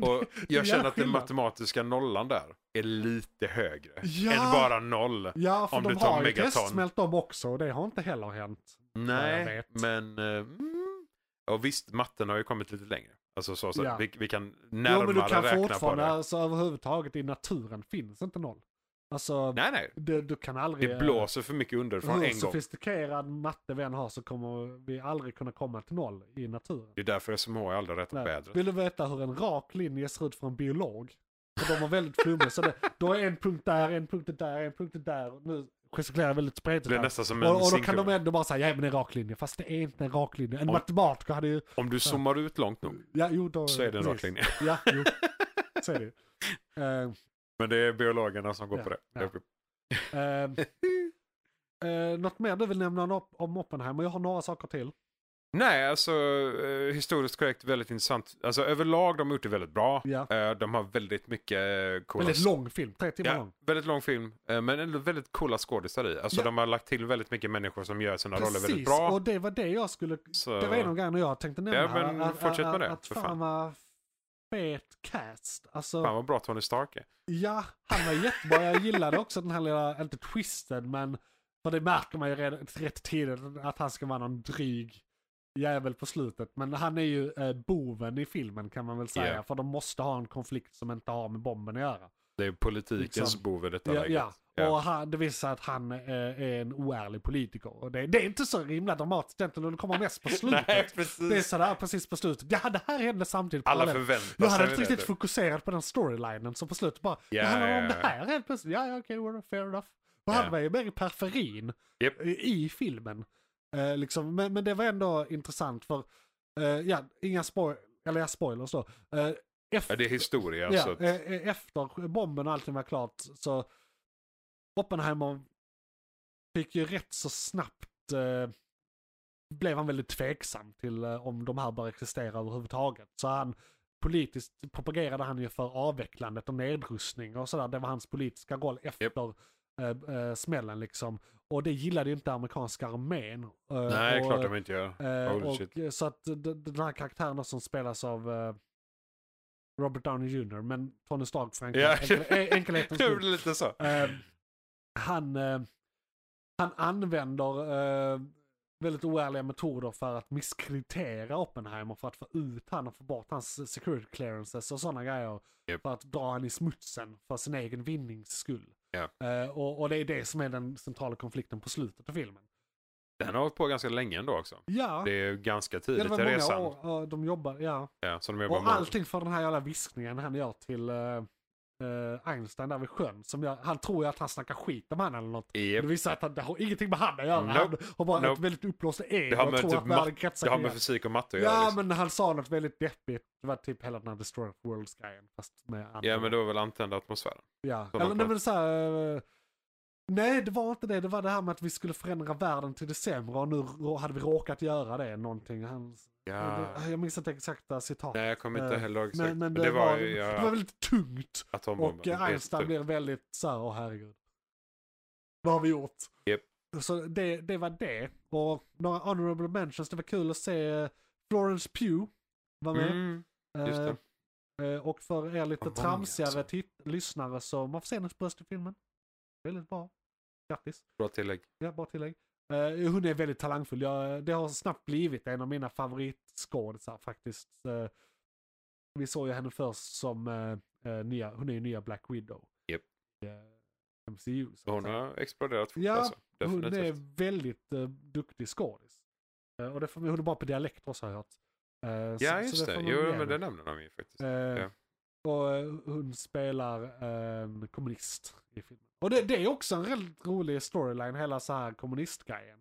S3: Och
S1: jävla
S3: jag känner att den
S1: skillnad.
S3: matematiska nollan där är lite högre
S1: Ja.
S3: än bara noll.
S1: Ja, för
S3: Om
S1: de
S3: du tar
S1: har ju
S3: megaton.
S1: testsmält dem också och det har inte heller hänt. jag
S3: Nej,
S1: vet.
S3: men... eh, Mm. Och visst, matten har ju kommit lite längre. Alltså så, så
S1: Ja.
S3: vi, vi kan
S1: Jo,
S3: närmare
S1: men du kan
S3: räkna på
S1: fortfarande,
S3: det.
S1: alltså överhuvudtaget i naturen finns inte noll. Alltså,
S3: Nej, nej.
S1: du, du kan aldrig... eh,
S3: Det blåser för mycket underifrån
S1: Hur
S3: en gång.
S1: sofistikerad matte vi än har så kommer vi aldrig kunna komma till noll i naturen.
S3: Det är därför SMH aldrig rättat
S1: Nej.
S3: vädret.
S1: Vill du veta hur en rak linje ser ut för en biolog? För de var väldigt flummiga. så det, då är en punkt där, en punkt där, en punkt där. Nu gestikulerar jag väldigt spretigt
S3: Det är
S1: här.
S3: nästan som en
S1: Och, och då kan
S3: synkron.
S1: de ändå bara säga, ja men det är en rak linje. Fast det är inte en rak linje. En
S3: Om-
S1: matematiker hade ju...
S3: Om du zoomar ut långt nog
S1: Ja, jo, då,
S3: så är det en rak
S1: precis.
S3: linje.
S1: Ja, jo. Så är det ju. Eh,
S3: Men det är biologerna som går
S1: Ja,
S3: på det.
S1: ja. eh, ehm, eh, något mer du vill nämna om, om Oppenheimer? Jag har några saker till.
S3: Nej, alltså eh, historiskt korrekt, väldigt intressant. Alltså överlag, de har gjort det väldigt bra.
S1: Ja.
S3: Eh, De har väldigt mycket eh, coola...
S1: Väldigt lång film, tre timmar
S3: Ja,
S1: lång.
S3: väldigt lång film, eh, men ändå väldigt coola skådisar i. Alltså
S1: Ja.
S3: de har lagt till väldigt mycket människor som gör sina roller väldigt bra.
S1: och det var det jag skulle...
S3: Så-
S1: Det var en av grejerna jag tänkte nämna.
S3: Ja, men fortsätt med det,
S1: Att
S3: för
S1: fan,
S3: fan.
S1: vad fet cast. Alltså,
S3: Fan vad bra Tony Stark är.
S1: ja, han var jättebra. Jag gillade också den här lilla, inte twisten, men... För det märker man ju redan rätt tidigt att han ska vara någon dryg jävel på slutet. Men han är ju eh, boven i filmen kan man väl säga.
S3: Ja.
S1: För de måste ha en konflikt som inte har med bomben att göra.
S3: Det är politikens
S1: Liksom.
S3: bov i detta
S1: Ja,
S3: läget.
S1: ja.
S3: Ja.
S1: och han, det visar sig att han eh, är en oärlig politiker. Och det, det är inte så himla dramatiskt egentligen, det kommer mest på slutet.
S3: Nej, precis.
S1: Det är sådär precis på slutet. Ja, det här hände samtidigt.
S3: Alla
S1: parallellt.
S3: förväntar sig
S1: Jag hade
S3: väl
S1: inte riktigt
S3: det.
S1: fokuserat på den storylinen som på slutet bara,
S3: typ. Ja,
S1: det handlar om
S3: ja,
S1: det
S3: ja.
S1: här helt plötsligt. Ja, ja, okej, okay, fair enough. Och
S3: Ja.
S1: han var ju mer i periferin
S3: Japp.
S1: i, i filmen. Eh, liksom. men, men det var ändå intressant för, eh, ja, inga spoil eller ja, spoilers då. Eh, efter,
S3: Ja, det är historia. alltså. så att,
S1: Ja, eh, eh, efter bomben och allting var klart så Oppenheimer fick ju rätt så snabbt eh, blev han väldigt tveksam till eh, om de här bör existera överhuvudtaget. Så han politiskt propagerade han ju för avvecklandet och nedrustning och sådär. Det var hans politiska roll efter eh, eh, smällen liksom. Och det gillade ju inte amerikanska armén. Eh,
S3: Nej,
S1: och,
S3: klart de inte gör.
S1: Eh,
S3: Holy shit.
S1: och, eh, så att d- d- den här karaktären då som spelas av eh, Robert Downey Jr. men Tony Stark för enkel,
S3: Ja.
S1: enkel, eh, enkelhetens
S3: Det är
S1: skull.
S3: väl lite så.
S1: Eh, han, eh, han använder eh, väldigt oärliga metoder för att misskreditera Oppenheimer för att få ut han och få bort hans security clearances och sådana grejer.
S3: Japp.
S1: För att dra han i smutsen för sin egen vinnings skull.
S3: Ja.
S1: Eh, och, och det är det som är den centrala konflikten på slutet av filmen.
S3: Den har hållit på ganska länge ändå också.
S1: Ja,
S3: Det är ju ganska
S1: ja,
S3: tidigt
S1: det var
S3: i
S1: många
S3: resan.
S1: år ja, de jobbar, ja.
S3: Ja, så de jobbar
S1: Och
S3: med-
S1: allting för den här jävla viskningen han gör till eh, eh, Einstein där vid sjön. Som jag, han tror ju att han snackar skit om han eller något.
S3: Japp.
S1: Det visar att han, det har ingenting med han att göra. Han
S3: Nope.
S1: har bara ett
S3: Nope.
S1: väldigt uppblåst ego.
S3: Det har med,
S1: och tror
S3: typ
S1: att världen
S3: mat-
S1: kretsar
S3: det har
S1: kring
S3: med
S1: det.
S3: fysik och matte att göra.
S1: Ja,
S3: liksom.
S1: men han sa något väldigt deppigt. Det var typ hela den här Destroy of Worlds-grejen. Fast med andra.
S3: Ja, men då är väl antända atmosfären.
S1: Ja.
S3: Så
S1: Eller
S3: något
S1: nej,
S3: på-
S1: men så här, eh, Nej, det var inte det. Det var det här med att vi skulle förändra världen till det sämre och nu rå- hade vi råkat göra det någonting. Han,
S3: Ja.
S1: Jag minns inte exakta citat.
S3: Nej, jag kommer inte
S1: Eh,
S3: heller ihåg exakt.
S1: Men, men det,
S3: var,
S1: var,
S3: ju
S1: det var
S3: ja,
S1: väldigt tungt.
S3: atombomben.
S1: Och
S3: Det är
S1: Einstein
S3: typ-
S1: blir väldigt så här, åh herregud. Vad har vi gjort?
S3: Japp.
S1: Så det, det var det. Och några honorable mentions, det var kul att se eh, Florence Pugh var med.
S3: Mm, just
S1: Eh,
S3: det.
S1: eh, Och för er lite
S3: Vad många,
S1: tramsigare
S3: alltså.
S1: titt- lyssnare så man får se hennes bröst i filmen. Väldigt bra. Grattis.
S3: Bra tillägg.
S1: Ja, bra tillägg. Eh, hon är väldigt talangfull. Jag, det har snabbt blivit en av mina favoritskådisar faktiskt. Eh, vi såg ju henne först som eh, eh, nya, hon är ju nya Black Widow.
S3: Japp.
S1: eh, MCU. Så att
S3: Hon
S1: säga.
S3: har exploderat fort
S1: Ja,
S3: alltså.
S1: Hon
S3: Definitivt.
S1: är väldigt eh, duktig skådis. Eh, och det får, man- hon är bra på dialekt också har jag hört. Eh, så-
S3: Ja,
S1: så
S3: just
S1: får
S3: det.
S1: man
S3: Jo,
S1: ge
S3: men
S1: henne.
S3: det nämner de ju faktiskt.
S1: Eh, Och eh, hon spelar en kommunist i filmen. Och det, det är också en väldigt rolig storyline, hela så här kommunistgrejen.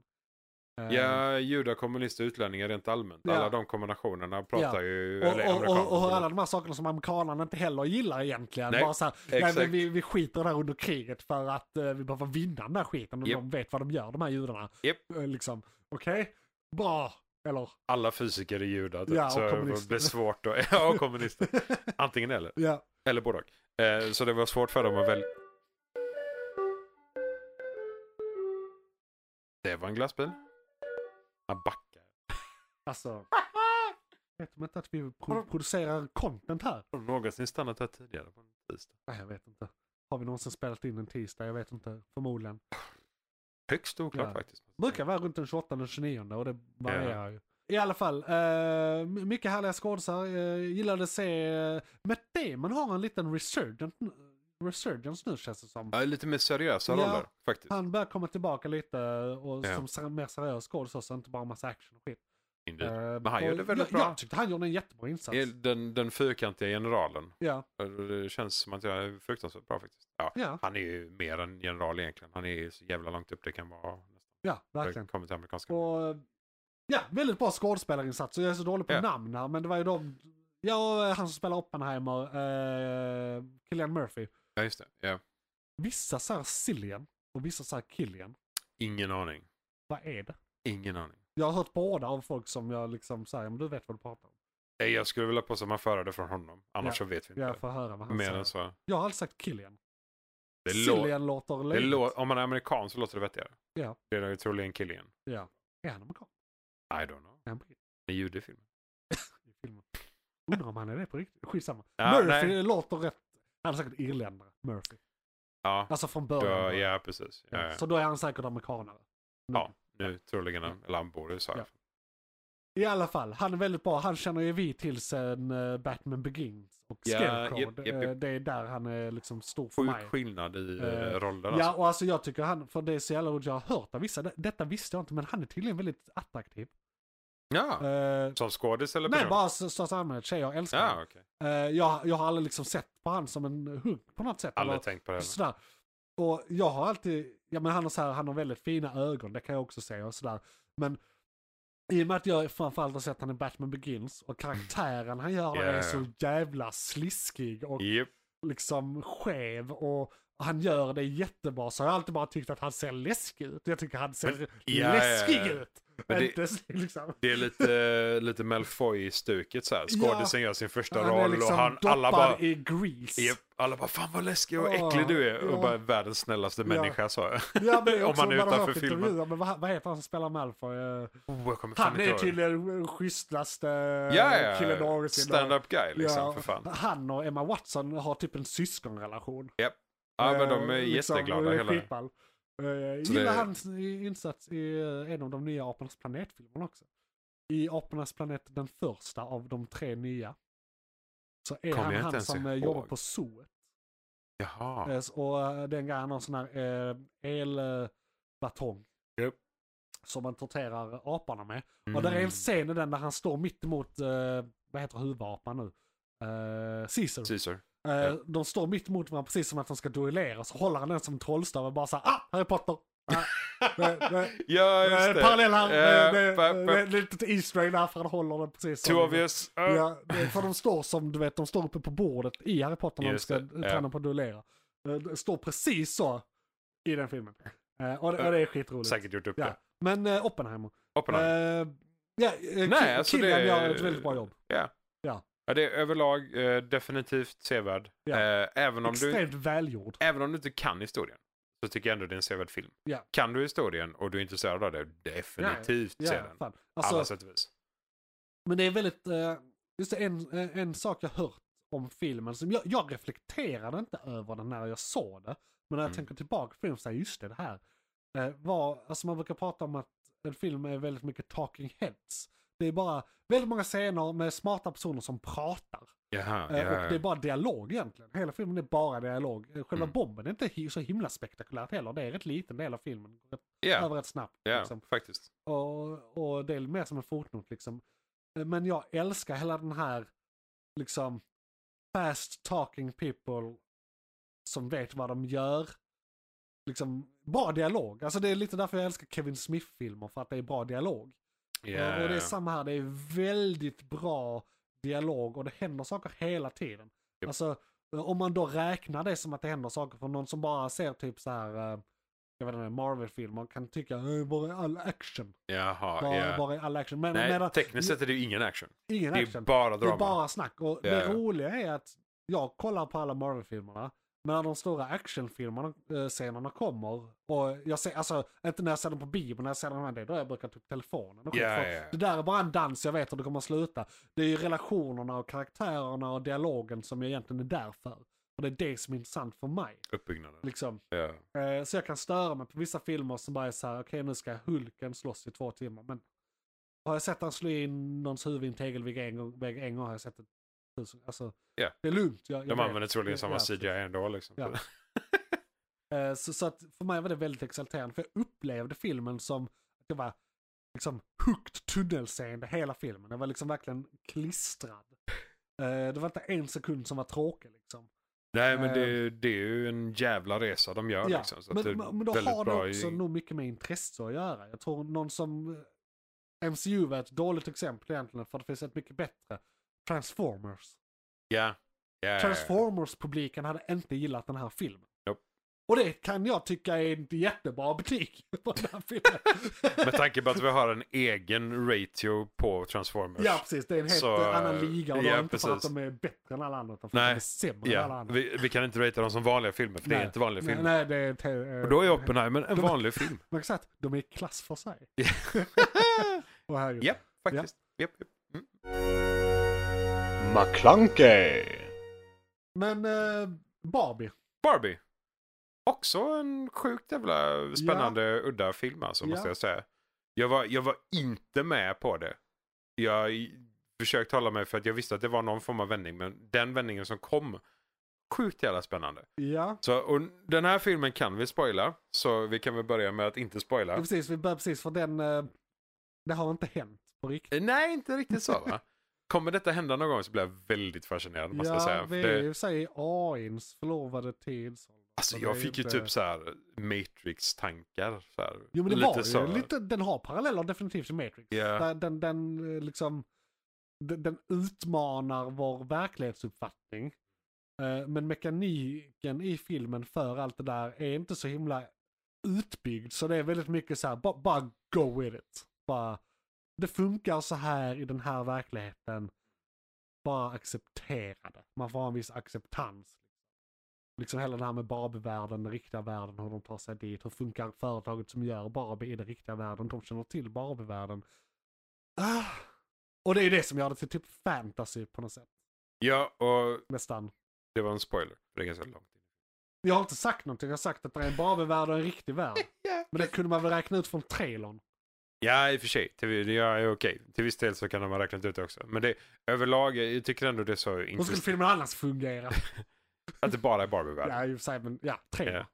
S1: Eh,
S3: Ja, judar, kommunister, utlänningar rent allmänt.
S1: Ja.
S3: Alla de kombinationerna pratar ju...
S1: Och,
S3: eller
S1: och, och, och hur
S3: amerikaner.
S1: alla de här sakerna som amerikanerna inte heller gillar egentligen.
S3: Nej,
S1: bara så här, nej, men
S3: exakt.
S1: vi, vi skiter där under kriget för att eh, vi behöver vinna den där skiten. Och
S3: Japp.
S1: de vet vad de gör, de här judarna.
S3: Japp.
S1: Eh, liksom, okej, bra. Eller,
S3: alla fysiker är judar. typ,
S1: Ja, och
S3: så det
S1: kommunister.
S3: blir svårt att... Ja, och kommunister. Antingen eller.
S1: ja.
S3: Eller både och. eh, Så det var svårt för dem att välja. Det var en glassbil. Han backar.
S1: Alltså, vet de inte att vi pro- producerar content här?
S3: Har de någonsin stannat här tidigare på en tisdag?
S1: Nej, jag vet inte. Har vi någonsin spelat in en tisdag? Jag vet inte. Förmodligen.
S3: Högst oklart
S1: Ja.
S3: faktiskt.
S1: Brukar vara runt den 28 och 29 och det varierar ju. I alla fall, eh, mycket härliga skådisar. Eh, gillade att se... Eh, Matt Damon har en liten resurgent, resurgence nu känns det som.
S3: Ja, lite mer seriösa
S1: Ja.
S3: roller faktiskt.
S1: Han börjar komma tillbaka lite eh, och
S3: Ja.
S1: som ser- mer seriös skådis också, inte bara massa action och skit.
S3: Indeed.
S1: Eh,
S3: Men han gjorde
S1: och
S3: väldigt
S1: jag,
S3: bra.
S1: Jag tyckte han gjorde en jättebra insats.
S3: Den, den fyrkantiga generalen.
S1: Ja,
S3: Det känns som att jag är fruktansvärt bra faktiskt. Ja.
S1: ja,
S3: Han är ju mer än general egentligen. Han är ju så jävla långt upp det kan vara.
S1: ja, verkligen.
S3: Verkligen. Kommer till amerikanska.
S1: Och ja, väldigt bra skådespelarinsats. Jag är så dålig på
S3: Ja.
S1: namn här, men det var ju de... Ja, han som spelar Oppenheimer, eh, Killian Murphy.
S3: Ja, just det. Ja.
S1: Vissa säger Cillian och vissa säger Killian.
S3: Ingen aning.
S1: Vad är det?
S3: Ingen aning.
S1: Jag har hört båda av folk som jag liksom säger, men du vet vad du pratar om.
S3: Nej, Jag skulle vilja påstå att man förde från honom. Annars
S1: Ja. alltså.
S3: så vet vi inte.
S1: Jag får höra vad han
S3: Mer
S1: säger.
S3: än så.
S1: Jag har alltid sagt Killian.
S3: Det lå-
S1: Cillian låter
S3: det
S1: löjligt.
S3: lå- om man är amerikan så låter det vettigare.
S1: Ja.
S3: Det är ju troligen killen.
S1: Ja. Är han amerikan?
S3: I don't know.
S1: Är han britt
S3: Det är jude i filmen.
S1: i filmen? Undrar om han är det på riktigt. Skitsamma.
S3: Ja,
S1: Murphy
S3: nej.
S1: låter rätt. Han är säkert irländare, Murphy.
S3: Ja,
S1: Alltså från
S3: då,
S1: början.
S3: ja precis. Ja, ja.
S1: Så då är han säkert amerikanare.
S3: Ja. Nu troligen, han- eller han bor i USA.
S1: Ja. I alla fall, han är väldigt bra. Han känner ju vi till sen eh, Batman Begins och
S3: Ja,
S1: Scarecrow.
S3: japp, japp,
S1: Eh,
S3: japp.
S1: Det är där han är liksom stor för mig.
S3: Sjuk skillnad i
S1: Eh,
S3: uh, roller
S1: Ja,
S3: alltså.
S1: och alltså jag tycker han, för det är så jävla roligt, jag har hört av vissa, det- detta visste jag inte, men han är tydligen väldigt attraktiv.
S3: Ja.
S1: Eh,
S3: Som skådis eller
S1: nej,
S3: person?
S1: bara så- största allmänhet, tjejer älskar
S3: Ja,
S1: honom.
S3: okej.
S1: Eh, jag, jag har aldrig liksom sett på han som en hunk på något sätt.
S3: Aldrig
S1: eller
S3: tänkt på det. heller.
S1: Sådär. Och jag har alltid, ja men han har, så här, han har väldigt fina ögon, det kan jag också säga och sådär. Men i och med att jag framförallt har sett han i Batman Begins och karaktären han gör där
S3: Ja,
S1: är
S3: ja.
S1: så jävla sliskig och
S3: Japp.
S1: liksom skev och han gör det jättebra så jag har alltid bara tyckt att han ser läskig ut. Jag tycker han ser
S3: Men- ja,
S1: läskig
S3: ja, ja.
S1: ut.
S3: Men det-
S1: Inte s- liksom.
S3: Det är lite, lite Malfoy-stuket så här. Skådisen gör sin första
S1: Han är
S3: roll
S1: liksom
S3: och han,
S1: doppad
S3: alla bara...
S1: i grease.
S3: Japp, alla bara fan vad läskig och
S1: Åh,
S3: äcklig du är.
S1: ja.
S3: Och bara världens snällaste
S1: Ja.
S3: människa sa jag.
S1: Ja, men det är
S3: Om
S1: också,
S3: man är
S1: man har
S3: utanför
S1: hört
S3: filmen.
S1: intervjuer, Men vad, vad heter han som spelar Malfoy? Eh,
S3: Oh, jag kommer fan
S1: Han
S3: inte
S1: är eh,
S3: ihåg.
S1: tydligen den schysstaste
S3: Ja, ja,
S1: killen
S3: ja.
S1: någonsin.
S3: Stand-up guy liksom
S1: Ja,
S3: för fan.
S1: Han och Emma Watson har typ en syskonrelation.
S3: Ja men de är
S1: Eh, liksom,
S3: jätteglada
S1: eh,
S3: hela...
S1: skitball. Eh,
S3: Så
S1: gillar
S3: det-
S1: hans i- insats i eh, en av de nya Apornas planet-filmerna också. I Apornas planet, den första av de tre nya. Så är
S3: Kommer
S1: han
S3: jag inte
S1: han
S3: ens
S1: som eh,
S3: ihåg.
S1: jobbar på zoo.
S3: Jaha.
S1: Eh, s- och eh, den grejen har en sån här eh, elbatong.
S3: Japp.
S1: Som man torterar aporna med. Eh,
S3: Mm.
S1: Och där är en scen i den där han står mitt emot, eh, vad heter huvudapan nu? Eh, Caesar.
S3: Caesar.
S1: Eh, de står mitt emot varandra precis som att de ska duellera. Så håller han den som en trollstav och bara såhär, ah, Harry Potter! Ah, det- det-
S3: Ja
S1: eh,
S3: just det.
S1: Parallell här,
S3: Eh,
S1: eh, det-
S3: pa-
S1: det-
S3: pa-
S1: det är lite Easter egg där för han håller den precis som-
S3: Too obvious. Ah.
S1: Ja, det- för de står som, du vet, de står uppe på bordet i Harry Potter när de
S3: Just
S1: ska
S3: det,
S1: träna på att duellera. Eh, Det står precis så i den filmen. Eh, och, det, och det är skitroligt.
S3: Säkert gjort upp
S1: Ja.
S3: det.
S1: Men eh, Oppenheimer.
S3: Oppenheimer.
S1: Eh, ja, eh,
S3: Nej,
S1: Ki-
S3: alltså
S1: Killian
S3: det-
S1: gör ett väldigt bra jobb.
S3: Ja, det är överlag eh, definitivt sevärd.
S1: Ja.
S3: Eh, även, om du,
S1: Extremt välgjord.
S3: även om du inte kan historien. Så tycker jag ändå det är en sevärd film.
S1: Ja.
S3: Kan du historien och du är intresserad av det, definitivt se den.
S1: fan.
S3: Alla
S1: Alltså,
S3: sätt och vis.
S1: men det är väldigt, eh, just det, en, eh, en sak jag hört om filmen, som jag, jag reflekterade inte över den när jag såg det. Men när jag
S3: Mm.
S1: tänker tillbaka på filmen så här, just det, det här. Eh, var, alltså man brukar prata om att en film är väldigt mycket talking heads. Det är bara väldigt många scener med smarta personer som pratar.
S3: Jaha,
S1: Eh, Och
S3: ja,
S1: det är
S3: ja.
S1: bara dialog egentligen. Hela filmen är bara dialog. Eh, Själva
S3: Mm.
S1: bomben är inte hi- så himla spektakulärt heller. Det är rätt liten del av filmen. Rätt,
S3: Ja,
S1: Över rätt snabbt.
S3: ja,
S1: Liksom.
S3: faktiskt.
S1: Och, och det är mer som en fotnot liksom. Eh, Men jag älskar hela den här liksom fast talking people som vet vad de gör. Liksom bra dialog. Alltså det är lite därför jag älskar Kevin Smith-filmer för att det är bra dialog.
S3: Ja,
S1: Eh, Och, och det är
S3: ja.
S1: samma här, det är väldigt bra dialog och det händer saker hela tiden.
S3: Japp.
S1: Alltså om man då räknar det som att det händer saker för någon som bara ser typ så här, eh, jag vet inte, Marvel-filmer kan tycka, "Eh, var är all action?
S3: Jaha,
S1: Var,
S3: ja.
S1: var är all action? Men
S3: Nej,
S1: medan,
S3: tekniskt sett är det ju ingen action.
S1: ingen
S3: Det är
S1: action.
S3: bara
S1: det är
S3: drama.
S1: bara snack. Och
S3: Ja,
S1: det
S3: ja.
S1: roliga är att jag kollar på alla Marvel-filmerna, men när de stora actionfilmerna, eh, scenerna kommer, och jag ser, alltså inte när jag ser dem på bio, men när jag ser dem här, det är då jag brukar ta upp telefonen och skit,
S3: Ja,
S1: för
S3: ja, ja.
S1: det där är bara en dans, jag vet hur det kommer att sluta. Det är ju relationerna och karaktärerna och dialogen som jag egentligen är där för. Och det är det som är intressant för mig.
S3: Uppbyggnaden.
S1: Liksom.
S3: Ja.
S1: Eh, så jag kan störa mig på vissa filmer som bara är så här, okej nu ska Hulken slåss i två timmar. Men har jag sett han slå in någons huvud i en tegelvägg en gång, vägg en gång har jag sett det tusen. Alltså,
S3: Ja.
S1: det är lugnt. Jag, jag
S3: De
S1: vet.
S3: använder troligen
S1: Ja,
S3: samma
S1: ja,
S3: CGI ändå liksom.
S1: Ja. Eh, Så, så att för mig var det väldigt exalterande. För jag upplevde filmen som att jag var liksom hooked tunnelseende hela filmen. Jag var liksom verkligen klistrad. Eh, Det var inte en sekund som var tråkig liksom.
S3: Nej men det, är
S1: Eh.
S3: ju- det är ju en jävla resa de gör
S1: Ja,
S3: liksom. Så att det
S1: men,
S3: är
S1: men då
S3: väldigt
S1: har
S3: bra
S1: det också
S3: i-
S1: nog mycket med intresse att göra. Jag tror någon som... eh, MCU var ett dåligt exempel egentligen för det finns ett mycket bättre. Transformers.
S3: Ja. ja.
S1: Transformers-publiken hade inte gillat den här filmen.
S3: Eh. Nope.
S1: Och det kan jag tycka är en jättebra betyg på den här filmen.
S3: Med tanke på att vi har en egen ratio på Transformers.
S1: Ja precis, det är en helt
S3: Så,
S1: eh, annan liga och det
S3: ja,
S1: är inte för att
S3: precis.
S1: de är bättre än alla andra utan för
S3: Nej,
S1: att de är sämre än alla
S3: Ja,
S1: andra.
S3: vi, vi kan inte ratea dem som vanliga filmer, för det är
S1: Nej.
S3: inte vanliga
S1: Nej,
S3: filmer.
S1: Nej, det är... te- eh,
S3: Och då är Oppenheimer en
S1: De-
S3: vanlig film.
S1: Man kan säga att de är i klass för sig. Och här är ju-
S3: Japp, faktiskt. Japp, japp. Mm.
S4: McClunkey.
S1: Men eh, Barbie.
S3: Barbie. Också en sjukt jävla spännande, udda film alltså, måste
S1: Ja.
S3: jag säga. Jag var, jag var inte med på det. Jag i- försökte hålla mig för att jag visste att det var någon form av vändning, men den vändningen som kom, sjukt jävla spännande.
S1: Ja.
S3: Så, och den här filmen kan vi spoila, så vi kan väl börja med att inte spoila.
S1: ja. Precis, vi börjar precis för den... Eh, det har inte hänt på riktigt.
S3: Eh, Nej, inte riktigt så va? Kommer detta hända någon gång så blir jag väldigt fascinerad måste
S1: ja,
S3: jag säga. För
S1: vi är
S3: det,
S1: ju säger AIns förlovade tidsålder.
S3: alltså,
S1: så
S3: jag
S1: det är
S3: fick ju
S1: inte-
S3: typ så här Matrix-tankar. Så här,
S1: Jo men det var ju
S3: så.
S1: lite, den har paralleller definitivt till Matrix.
S3: Ja.
S1: Där Den, den, eh, liksom, den, den utmanar vår verklighetsuppfattning. Eh, Men mekaniken i filmen för allt det där är inte så himla utbyggd. Så det är väldigt mycket så här, bara, bara go with it. Bara, det funkar så här i den här verkligheten. Bara acceptera det. Man får ha en viss acceptans. Liksom hela det här med Barbie-världen, den riktiga världen, hur de tar sig dit, hur funkar företaget som gör Barbie i den riktiga världen, de känner till Barbie-världen. Ah. Och det är det som gör det till typ fantasy på något sätt,
S3: Ja, och
S1: nästan.
S3: det var en spoiler. för Det är ganska långt.
S1: Jag har inte sagt någonting, jag har sagt att det är en Barbie-värld och en riktig värld. Men det kunde man väl räkna ut från trailern.
S3: Ja, i och för sig. Till, ja, ja, okej. Till viss del så kan de ha räknat ut det också. Men det, överlag, jag tycker ändå det är så
S1: Hur skulle
S3: intressant
S1: filmen annars fungera?
S3: att det bara är Barbie-världen.
S1: ja, i och för sig, men ja, trailern.
S3: Ja.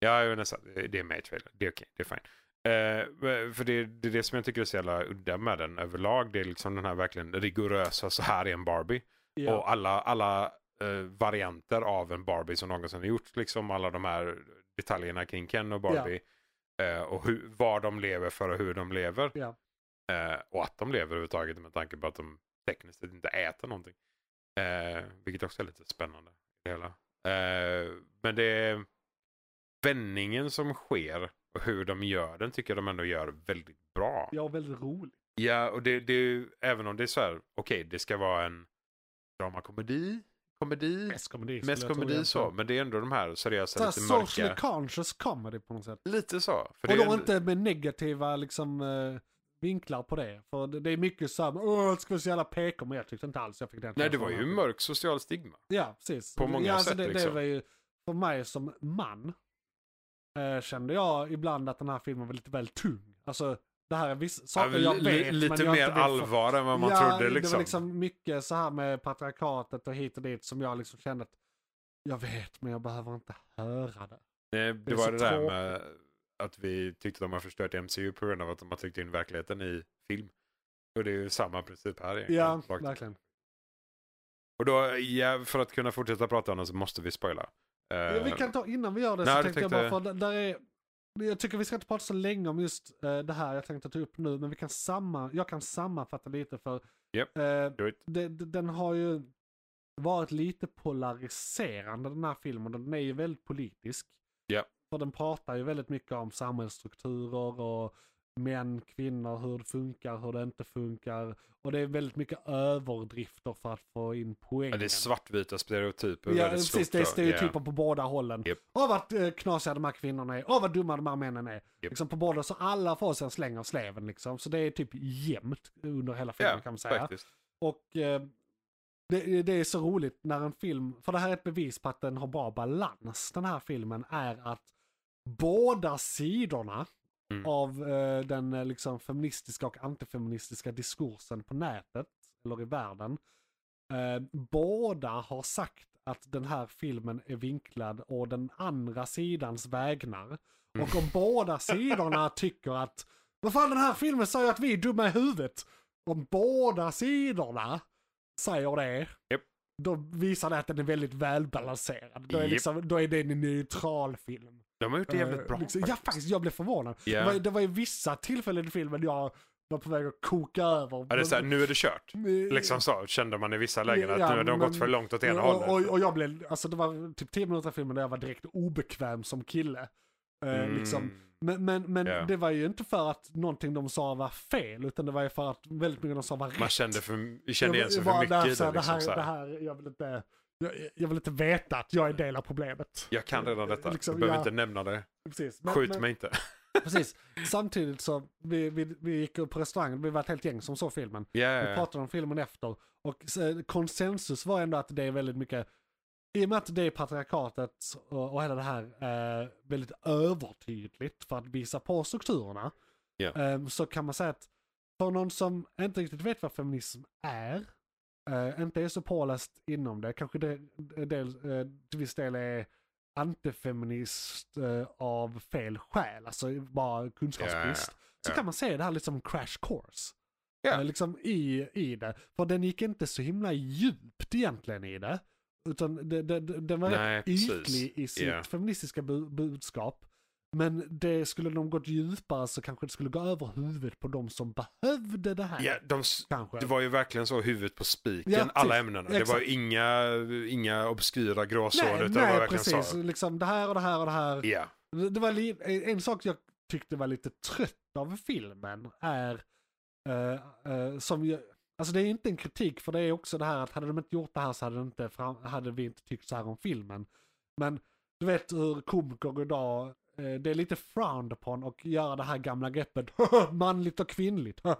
S3: Ja, jo, nästan. Det är med i trailern. Det är okej. Det är fine. Eh, för det, det är det som jag tycker är så jävla udda med den överlag. Det är liksom den här verkligen rigorösa, så här är en Barbie.
S1: Ja.
S3: Och alla, alla eh, varianter av en Barbie som någonsin har gjorts. Liksom alla de här detaljerna kring Ken och Barbie. Eh, och hur, var de lever för och hur de lever.
S1: Ja.
S3: Eh, och att de lever överhuvudtaget med tanke på att de tekniskt sett inte äter någonting. Eh, vilket också är lite spännande. i Det hela. Eh, men det är vändningen som sker och hur de gör den tycker jag de ändå gör väldigt bra.
S1: ja, väldigt roligt.
S3: Ja, och det, det är ju, även om det är så här, okej, det ska vara en dramakomedi, komedi,
S1: Mest komedi. skulle
S3: mest
S1: jag tro
S3: komedi så,
S1: egentligen.
S3: men det är ändå de här seriösa,
S1: Så
S3: lite
S1: här socially
S3: mörka.
S1: conscious comedy på något sätt.
S3: Lite så. För det
S1: Och
S3: är
S1: då
S3: ändå-
S1: inte med negativa liksom, eh, vinklar på det. För det, det är mycket så här, åh, det ska vara så jävla PK, men jag tyckte inte alls jag fick den
S3: Nej, det
S1: känslan
S3: var ju
S1: här.
S3: mörk social stigma.
S1: Ja, precis.
S3: på många
S1: ja, alltså,
S3: sätt,
S1: det, det
S3: liksom.
S1: var ju, för mig som man, eh, kände jag ibland att den här filmen var lite väl tung. Alltså, Det här är vissa
S3: Ja,
S1: saker jag
S3: li-
S1: vet. men
S3: li- lite
S1: jag
S3: mer
S1: inte vill få-
S3: allvar än vad man trodde
S1: det var
S3: liksom.
S1: liksom mycket så här med patriarkatet och hit och dit som jag liksom kände att jag vet men jag behöver inte höra det.
S3: Nej, Eh, det
S1: är
S3: var
S1: så
S3: det där med att vi tyckte de har förstört MCU på grund av att de har tryckt in verkligheten i film. Och det är ju samma princip här egentligen.
S1: Ja,
S3: Rakt-
S1: verkligen.
S3: Och då, ja, för att kunna fortsätta prata om det så måste vi spoila. Eh,
S1: Ja, vi kan ta innan vi gör det
S3: nej,
S1: så
S3: det
S1: tänkte jag bara
S3: tänkte-
S1: för d- där är jag tycker vi ska inte prata så länge om just eh, det här jag tänkte ta upp nu, men vi kan samma, jag kan sammanfatta lite för
S3: Japp.
S1: eh,
S3: do it.
S1: det, det- den har ju varit lite polariserande den här filmen. Den är ju väldigt politisk.
S3: Ja.
S1: För den pratar ju väldigt mycket om samhällsstrukturer och män, kvinnor, hur det funkar, hur det inte funkar. Och det är väldigt mycket överdrifter för att få in poängen.
S3: Ja, det är svartvita stereotyper.
S1: Ja,
S3: väldigt
S1: precis.
S3: stort
S1: Det är
S3: då.
S1: stereotyper
S3: Ja.
S1: på båda hållen.
S3: Japp.
S1: Åh vad eh, knasiga de här kvinnorna är. Åh vad dumma de här männen är.
S3: Japp.
S1: Liksom på båda, så alla får sig en släng av sleven liksom. Så det är typ jämnt under hela filmen
S3: Ja,
S1: kan man säga.
S3: faktiskt.
S1: Och eh, det, det är så roligt när en film, för det här är ett bevis på att den har bra balans. Den här filmen är att båda sidorna
S3: Mm.
S1: av eh, den eh, liksom, feministiska och antifeministiska diskursen på nätet, eller i världen, eh, båda har sagt att den här filmen är vinklad å den andra sidans
S3: Mm.
S1: vägnar. Och om båda sidorna tycker att, vad fan den här filmen säger att vi är dumma i huvudet. Om båda sidorna säger det,
S3: Japp.
S1: då visar det att den är väldigt välbalanserad. Då är,
S3: Japp.
S1: liksom, då är det en neutral film.
S3: De har gjort det jävligt bra.
S1: Eh, liksom, ja, faktiskt, jag blev förvånad.
S3: Ja.
S1: Det, var, det var ju vissa tillfällen i filmen jag var på väg att koka över.
S3: Ja, det är så här, nu är det kört.
S1: Men-
S3: Liksom så kände man i vissa lägen att
S1: Ja,
S3: nu har de
S1: men-
S3: gått för långt åt ena
S1: och,
S3: hållet.
S1: Och, och jag blev, alltså det var typ 10 minuter i filmen där jag var direkt obekväm som kille. Eh,
S3: Mm.
S1: liksom. Men, men, men
S3: Ja.
S1: det var ju inte för att någonting de sa var fel, utan det var ju för att väldigt mycket de sa var rätt.
S3: Man kände, för, kände igen sig
S1: Jag var
S3: för mycket
S1: där
S3: i
S1: så
S3: det.
S1: här, det,
S3: Liksom,
S1: här,
S3: så
S1: det
S3: här.
S1: här, jag vill inte, jag, jag vill inte veta att jag är del av problemet.
S3: Jag kan redan detta.
S1: Liksom,
S3: jag behöver
S1: ja.
S3: inte nämna det.
S1: Precis. Men-
S3: Skjut
S1: men-
S3: mig inte.
S1: Precis. Samtidigt så, vi, vi, vi gick upp på restaurangen, vi var ett helt gäng som såg filmen.
S3: Ja,
S1: Vi pratade om filmen efter. Och så, konsensus var ändå att det är väldigt mycket, i och med att det är patriarkatet och, och hela det här eh, väldigt övertydligt för att visa på strukturerna.
S3: Ja.
S1: eh, så kan man säga att för någon som inte riktigt vet vad feminism är, eh, inte är så påläst inom det, kanske det, del, eh, till viss del är antifeminist eh, av fel skäl, alltså bara kunskapsbrist. Så
S3: ja.
S1: kan man se det här lite som en crash course.
S3: Ja.
S1: Eh, Liksom i, i det. För den gick inte så himla djupt egentligen i det. Utan det, det, det, den var
S3: Nej,
S1: rätt
S3: precis.
S1: ytlig i sitt
S3: Ja.
S1: feministiska bu- budskap. Men det skulle de gått djupare så kanske det skulle gå över huvudet på de som behövde det här.
S3: Ja, de, s-
S1: Kanske.
S3: det var ju verkligen så huvudet på spiken,
S1: Ja,
S3: alla
S1: precis.
S3: ämnen. Det var
S1: Exakt.
S3: ju inga, inga obskyra gråzoner.
S1: nej,
S3: utan det var
S1: nej
S3: verkligen
S1: precis.
S3: så.
S1: Liksom det här och det här och det här.
S3: Ja,
S1: Det det var li- en- en sak jag tyckte var lite trött av filmen är eh, eh, som jag, alltså det är inte en kritik för det är också det här att hade de inte gjort det här så hade, det inte fram, hade vi inte tyckt så här om filmen. Men du vet hur komiker idag, eh, det är lite frowned upon och göra det här gamla greppet manligt och kvinnligt.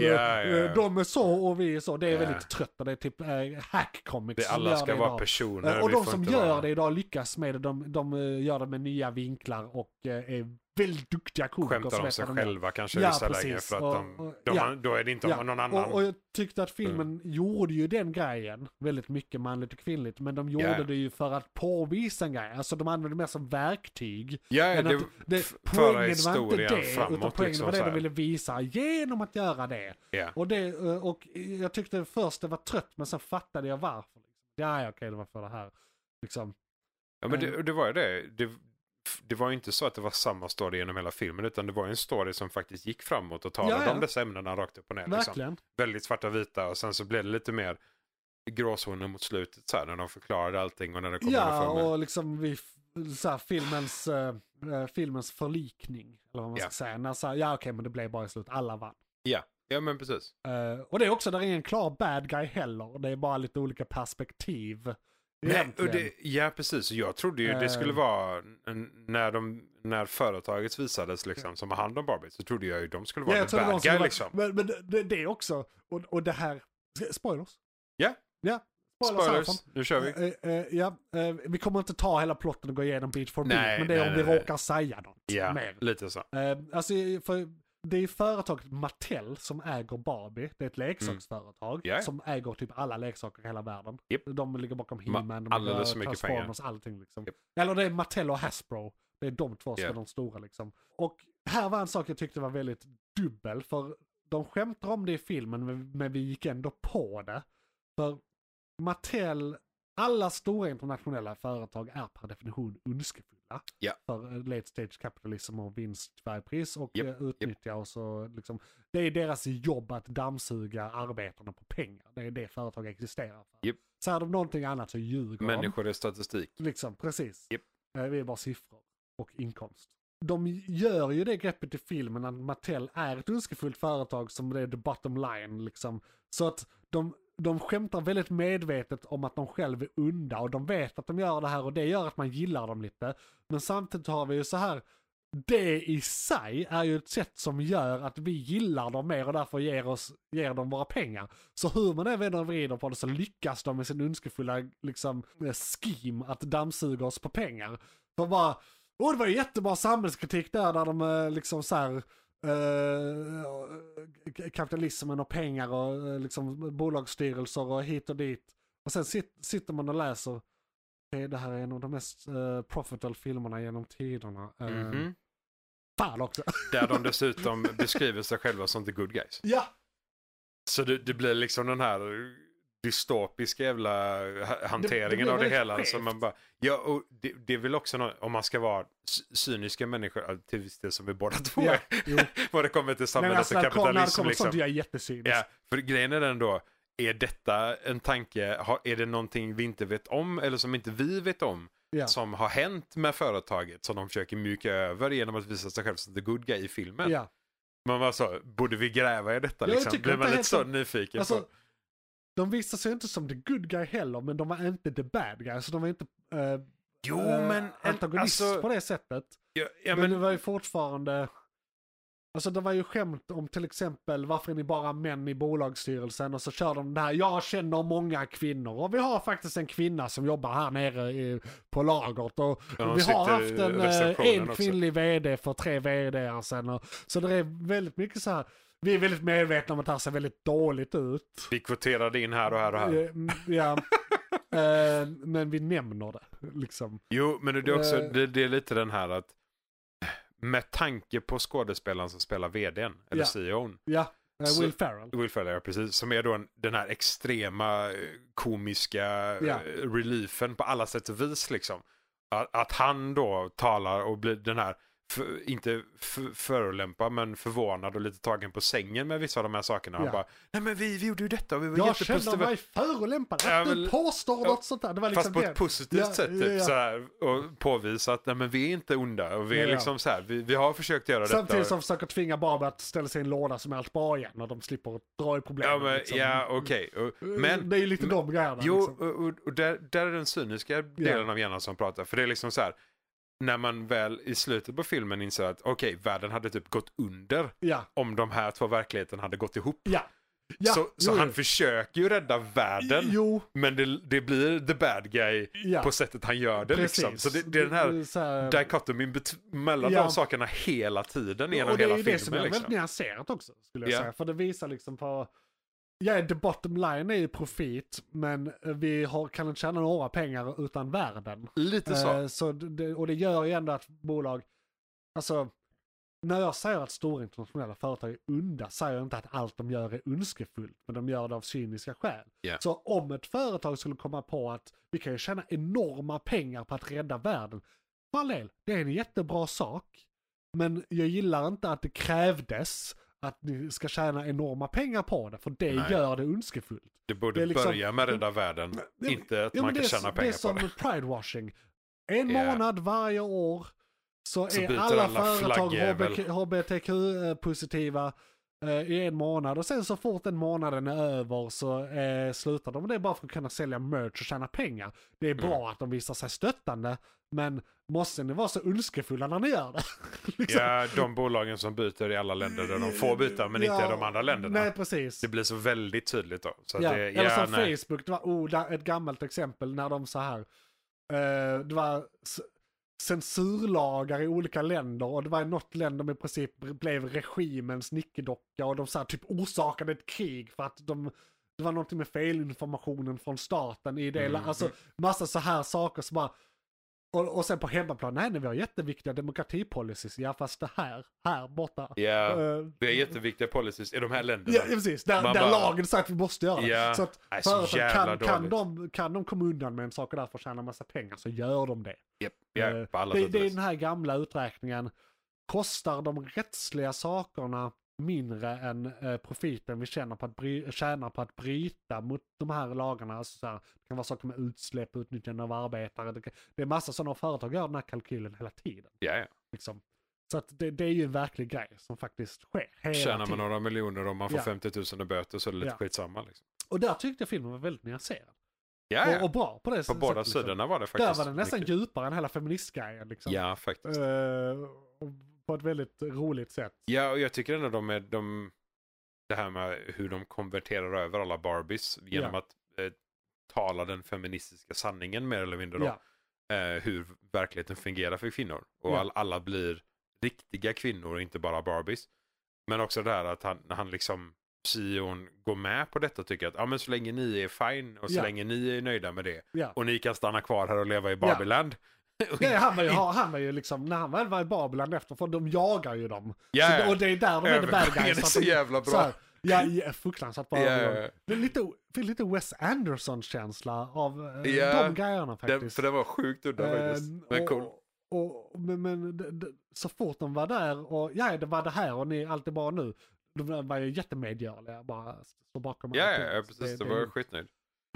S1: Eh,
S3: ja, ja.
S1: eh, De är så och vi är så, det är
S3: Ja.
S1: väldigt trött och det är typ eh, hack comics
S3: det,
S1: som
S3: alla
S1: gör
S3: ska
S1: det
S3: vara
S1: idag.
S3: personer.
S1: Eh, Och
S3: vi
S1: de
S3: får
S1: som
S3: inte
S1: gör
S3: vara-
S1: det idag lyckas med det. De, de eh, gör det med nya vinklar och eh, är väldigt duktiga komiker. som
S3: Skämtar om
S1: vet
S3: sig
S1: vad de gör.
S3: själva kanske i
S1: Ja,
S3: vissa
S1: precis.
S3: lägen. För att
S1: Och-
S3: de,
S1: och-
S3: de,
S1: ja.
S3: Då är det inte
S1: Ja,
S3: om någon annan. Mm.
S1: Och, och jag tyckte att filmen gjorde ju den grejen väldigt mycket manligt och kvinnligt. Men de gjorde
S3: Ja.
S1: det ju för att påvisa en grej. Alltså de använde det mer som verktyg.
S3: ja,
S1: än
S3: det,
S1: att det,
S3: f-
S1: poängen
S3: föra
S1: var inte
S3: historien
S1: det,
S3: framåt.
S1: utan poängen
S3: liksom,
S1: var det
S3: så
S1: de
S3: här.
S1: ville visa genom att göra det.
S3: Ja.
S1: Och, det, eh, och jag tyckte först det var trött, men sen fattade jag varför. Ja, ja, okej, det var för det här. Liksom.
S3: Ja, men
S1: Men-
S3: det, det var ju det. det. Det var ju inte så att det var samma story genom hela filmen utan det var ju en story som faktiskt gick framåt och talade
S1: Ja, ja.
S3: om dessa ämnena rakt upp och ner. Liksom.
S1: Verkligen.
S3: Väldigt svarta och vita och sen så blev det lite mer gråzoner mot slutet så här när de förklarade allting och när det kom
S1: Ja,
S3: underfund med-
S1: och liksom vi, f- så här, filmens, eh, eh, filmens förlikning. Eller vad man
S3: Ja.
S1: ska säga. När, så här, ja, okej, men det blev bara i slut. Alla vann.
S3: ja. ja, men precis.
S1: Eh, och det är också, där är ingen klar bad guy heller. Det är bara lite olika perspektiv.
S3: Nej, och
S1: egentligen.
S3: det, ja, precis. Jag trodde ju det skulle
S1: Eh.
S3: vara n- när, de, när företaget visades liksom, som har hand om Barbie så trodde jag ju de skulle vara
S1: Ja,
S3: ja,
S1: jag tror
S3: the
S1: det var
S3: bad
S1: som
S3: guy
S1: var-
S3: liksom.
S1: Men, men det, det är också, och, och det här, spoilers.
S3: Ja.
S1: Ja, spoilers,
S3: Spoilers,
S1: härifrån.
S3: nu kör vi.
S1: Eh, eh, ja, eh, vi kommer inte ta hela plotten och gå igenom bit för bit,
S3: Nej,
S1: men det är
S3: nej,
S1: om
S3: nej,
S1: vi
S3: nej.
S1: råkar säga något
S3: Ja,
S1: mer.
S3: lite så.
S1: Eh, alltså, för det är företaget Mattel som äger Barbie. Det är ett leksaksföretag
S3: Mm. Ja, ja.
S1: som äger typ alla leksaker i hela världen.
S3: Japp.
S1: De ligger bakom He-Man, de
S3: alldeles
S1: ligger
S3: för mycket
S1: Transformers, allting liksom.
S3: Japp.
S1: Eller det är Mattel och Hasbro. Det är de två som
S3: Ja.
S1: är de stora liksom. Och här var en sak jag tyckte var väldigt dubbel. För de skämtar om det i filmen men- men vi gick ändå på det. För Mattel, alla stora internationella företag är per definition ondskefulla.
S3: Ja.
S1: För eh, late stage capitalism och vinst till varje pris och
S3: Japp,
S1: eh, utnyttja och så liksom. Det är deras jobb att dammsuga arbetarna på pengar. Det är det företag existerar för.
S3: Japp.
S1: Säger de någonting annat så ljuger de.
S3: Människor är statistik.
S1: Liksom, precis.
S3: Japp.
S1: Eh, Vi är bara siffror och inkomst. De gör ju det greppet i filmen att Mattel är ett ondskefullt företag som det är the bottom line liksom. Så att de, de skämtar väldigt medvetet om att de själva är onda och de vet att de gör det här och det gör att man gillar dem lite. Men samtidigt har vi ju så här, det i sig är ju ett sätt som gör att vi gillar dem mer och därför ger, oss, ger dem våra pengar. Så hur man än vänder och vrider på det så lyckas de med sin ondskefulla liksom, eh, scheme att dammsuga oss på pengar. De bara, åh det var ju jättebra samhällskritik där, där de eh, liksom så här eh, k- kapitalismen och pengar och eh, liksom bolagsstyrelser och hit och dit. Och sen sit, sitter man och läser, "Okej, det här är en av de mest eh, profitable filmerna genom tiderna. Eh,
S3: Mhm.
S1: Fan också!
S3: Där de dessutom beskriver sig själva som the good guys.
S1: ja!
S3: Så det, det blir liksom den här dystopiska jävla ha- hanteringen
S1: blir
S3: av det
S1: väldigt
S3: hela.
S1: skevt.
S3: Så man bara, ja, och det, det är väl också någon, om man ska vara cy- cyniska människor, ja, till viss del som vi båda två
S1: Ja,
S3: är,
S1: jo.
S3: vad det kommer
S1: Nej,
S3: till
S1: men
S3: samhället
S1: alltså,
S3: och
S1: när det kommer- när det
S3: kapitalism.
S1: kommer
S3: liksom.
S1: sånt, jag är jättesynisk.
S3: Ja, för grejen är den då, är detta en tanke, har, är det någonting vi inte vet om eller som inte vi vet om
S1: Ja.
S3: som har hänt med företaget som de försöker mjuka över genom att visa sig själv som the good guy i filmen?
S1: Ja.
S3: Man var så, borde vi gräva i detta
S1: Ja, jag
S3: liksom?
S1: tycker
S3: Blir
S1: inte
S3: man lite
S1: helt
S3: så
S1: som-
S3: nyfiken
S1: Alltså,
S3: på?
S1: de visade sig inte som the good guy heller, men de var inte the bad guy. Så de var inte eh,
S3: Jo
S1: eh,
S3: men, en,
S1: antagonist på
S3: alltså,
S1: det sättet.
S3: ja, ja,
S1: men,
S3: men,
S1: det var ju fortfarande... Alltså det var ju skämt om till exempel varför är ni bara män i bolagsstyrelsen och så kör de det här, jag känner många kvinnor och vi har faktiskt en kvinna som jobbar här nere i, på lagret och
S3: Ja, de
S1: vi har
S3: sitter i
S1: haft en, eh,
S3: receptionen
S1: en
S3: också.
S1: kvinnlig vd för tre vd sen och, så det är väldigt mycket så här, vi är väldigt medvetna om att det här ser väldigt dåligt ut.
S3: vi kvoterade in här och här och här.
S1: Eh, mm, Ja. Eh, men vi nämner det liksom.
S3: Jo, men det är, också,
S1: Eh.
S3: det, det är lite den här att med tanke på skådespelaren som spelar vdn, eller
S1: Ja.
S3: E CEOn,
S1: Ja, eh,
S3: Så-
S1: Will Ferrell.
S3: Will Ferrell, ja, precis. Som är då en, den här extrema eh, komiska
S1: Ja.
S3: yeah. reliefen på alla sätt och vis liksom. Att, att han då talar och blir den här, för, inte för, förolämpad men förvånad och lite tagen på sängen med vissa av de här sakerna. Han
S1: Ja.
S3: bara, nej men vi, vi gjorde ju detta och vi var
S1: Jag känner
S3: jättepositiva.
S1: mig förolämpad att
S3: Ja,
S1: du
S3: men-
S1: påstår
S3: ja,
S1: något sånt där. Det var liksom
S3: Fast på
S1: det.
S3: ett positivt
S1: Ja,
S3: sätt typ,
S1: ja, ja.
S3: Så här, och påvisa att nej men vi är inte onda och vi är
S1: Ja, ja.
S3: liksom så här, vi, vi har försökt göra detta.
S1: Samtidigt som försöker tvinga Barbie att ställa sig i en låda som är allt bra igen och de slipper dra i
S3: Ja,
S1: problemen.
S3: men,
S1: liksom.
S3: ja okej. Och- Men
S1: det är ju lite de grejerna.
S3: Jo,
S1: liksom.
S3: och, och- och där, där är den cyniska delen av hjärnan som pratar. För det är liksom så här, när man väl i slutet på filmen inser att okej, världen hade typ gått under
S1: Ja,
S3: om de här två verkligheten hade gått ihop.
S1: ja. ja.
S3: så så
S1: jo,
S3: han
S1: jo.
S3: försöker ju rädda världen,
S1: Jo,
S3: men det, det blir the bad guy
S1: ja.
S3: på sättet han gör det.
S1: precis.
S3: Liksom. Så det, det är den här
S1: Så här-
S3: dikotomin bet- mellan
S1: Ja.
S3: de sakerna hela tiden genom
S1: Och det är
S3: hela
S1: ju det som är
S3: filmen.
S1: väldigt
S3: Liksom.
S1: nyanserat också, skulle jag
S3: Ja.
S1: säga. För det visar liksom på... Ja, the bottom line är ju profit, men vi har, kan inte tjäna några pengar utan världen.
S3: Lite så.
S1: Eh, så det, och det gör ju ändå att bolag, alltså när jag säger att stora internationella företag är onda säger jag inte att allt de gör är ondskefullt, men de gör det av cyniska skäl.
S3: Ja.
S1: Så om ett företag skulle komma på att vi kan ju tjäna enorma pengar på att rädda världen, för all del, det är en jättebra sak, men jag gillar inte att det krävdes att ni ska tjäna enorma pengar på det, för det
S3: Nej.
S1: gör det ondskefullt.
S3: det borde
S1: det är liksom-
S3: börja med rädda världen,
S1: men-
S3: inte att
S1: Ja,
S3: man
S1: men
S3: kan
S1: det är,
S3: tjäna
S1: det är
S3: pengar
S1: som
S3: på det.
S1: pridewashing. En
S3: Ja.
S1: månad varje år så,
S3: Så
S1: är
S3: byter
S1: alla,
S3: alla
S1: företag
S3: flaggjävel.
S1: HBQ hbtq-positiva eh, i en månad och sen så fort den månaden är över så eh, slutar de. Det är bara för att kunna sälja merch och tjäna pengar. Det
S3: Mm.
S1: är bra att de visar sig stöttande men måste ni vara så ondskefulla när ni gör det? Liksom.
S3: Ja, de bolagen som byter i alla länder där de får byta men inte
S1: Ja,
S3: i de andra länderna.
S1: Nej, precis.
S3: Det blir så väldigt tydligt då. Så att
S1: Ja.
S3: det,
S1: Eller
S3: ja,
S1: som
S3: nej.
S1: Facebook, det var oh, där, ett gammalt exempel när de så här, eh, det var s- censurlagar i olika länder och det var i något land de i princip blev regimens nickedocka och de så här, typ orsakade ett krig för att de, det var någonting med felinformationen från staten i det
S3: Mm.
S1: landet. Alltså massa så här saker som bara och, och sen på hemmaplan, nej, nej vi har jätteviktiga demokratipolicies, ja fast det här, här borta.
S3: Ja,
S1: Eh,
S3: det är jätteviktiga policies i de här länderna.
S1: Ja, ja, precis. Där,
S3: Man
S1: där
S3: bara-
S1: lagen sagt att vi måste göra det.
S3: Ja.
S1: Så att
S3: Nej, så
S1: företag,
S3: jävla
S1: kan, kan,
S3: dåligt.
S1: de, kan de komma undan med en sak och därför tjäna massa pengar så gör de det.
S3: Japp, ja,
S1: Eh,
S3: på alla
S1: det,
S3: sätt och
S1: det är
S3: vis.
S1: den här gamla uträkningen. Kostar de rättsliga sakerna mindre än eh, profiten vi tjänar på, att bry, tjänar på att bryta mot de här lagarna? Alltså så här, det kan vara saker med utsläpp, utnyttjande av arbetare. Det, kan- det är massa sådana företag gör den här kalkylen hela tiden.
S3: Ja, ja.
S1: Liksom. Så att det, det är ju en verklig grej som faktiskt sker hela
S3: Tjänar man
S1: tiden.
S3: några miljoner om man får
S1: Ja.
S3: 50 000 i böter så är det lite
S1: Ja.
S3: skitsamma. Liksom.
S1: Och där tyckte jag filmen var väldigt nyanserad.
S3: Ja,
S1: Och,
S3: ja.
S1: och bra på det
S3: På
S1: sättet.
S3: båda
S1: liksom.
S3: sidorna var det faktiskt.
S1: Där var den nästan
S3: mycket.
S1: djupare än hela feministgrejen. Liksom.
S3: Ja, faktiskt.
S1: Eh, och på ett väldigt roligt sätt.
S3: Ja, och jag tycker ändå de är de... Det här med hur de konverterar över alla Barbies genom
S1: Ja.
S3: att eh, tala den feministiska sanningen mer eller mindre. Då.
S1: Ja,
S3: Eh, hur verkligheten fungerar för kvinnor. Och
S1: Ja.
S3: all, alla blir riktiga kvinnor och inte bara Barbies. Men också det här att han, när han liksom Sion går med på detta och tycker att ah, men så länge ni är fine och så
S1: Ja.
S3: länge ni är nöjda med det
S1: ja.
S3: och ni kan stanna kvar här och leva i Barbieland. Och-
S1: Nej, han, var ju, han var ju liksom, när han väl var i Babylon efter, för de jagar ju dem.
S3: Ja,
S1: Så, och det är där de är the bad
S3: Övergången
S1: guys.
S3: är
S1: att
S3: så
S1: de-
S3: jävla bra.
S1: så här, ja, ja, fruktansvärt bra.
S3: Ja,
S1: övergång. Det är lite, det är lite Wes Anderson-känsla av eh,
S3: Ja.
S1: de grejerna faktiskt.
S3: Den, för den var sjukt udda faktiskt.
S1: Ehm,
S3: Men
S1: och,
S3: cool.
S1: Och, men men d- d- så fort de var där och ja, det var det här och ni, allt är bra nu. De var ju jättemedgörliga, bara står bakom
S3: Ja,
S1: allting.
S3: ja, ja,
S1: Så
S3: precis. Det,
S1: det
S3: var
S1: är-
S3: jag skitnöjd.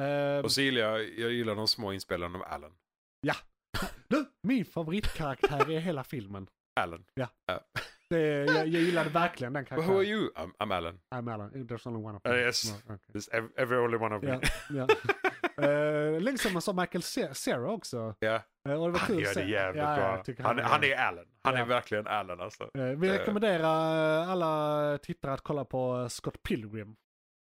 S1: Ehm,
S3: Och så gillar jag, jag gillar de små inspelarna av Alan.
S1: Du, min favoritkaraktär i hela filmen.
S3: Alan.
S1: Det, jag, jag gillade verkligen den
S3: Who are
S1: karaktären.
S3: you? I'm, I'm Alan.
S1: I'm Alan, there's only one of
S3: Uh,
S1: them.
S3: yes.
S1: Ja, okej.
S3: This ev- every only one of
S1: Ja,
S3: me.
S1: ja. Eh, Längs som man sa Michael Se- Cera också.
S3: Ja.
S1: Eh, och det var
S3: Han
S1: kul att
S3: gör det
S1: se.
S3: jävligt
S1: Ja, ja,
S3: bra.
S1: jag tycker
S3: han, han är Allen. Han
S1: Ja.
S3: är verkligen Allen alltså.
S1: Eh, Vi
S3: Eh.
S1: rekommenderar eh, alla tittare att kolla på eh, Scott Pilgrim.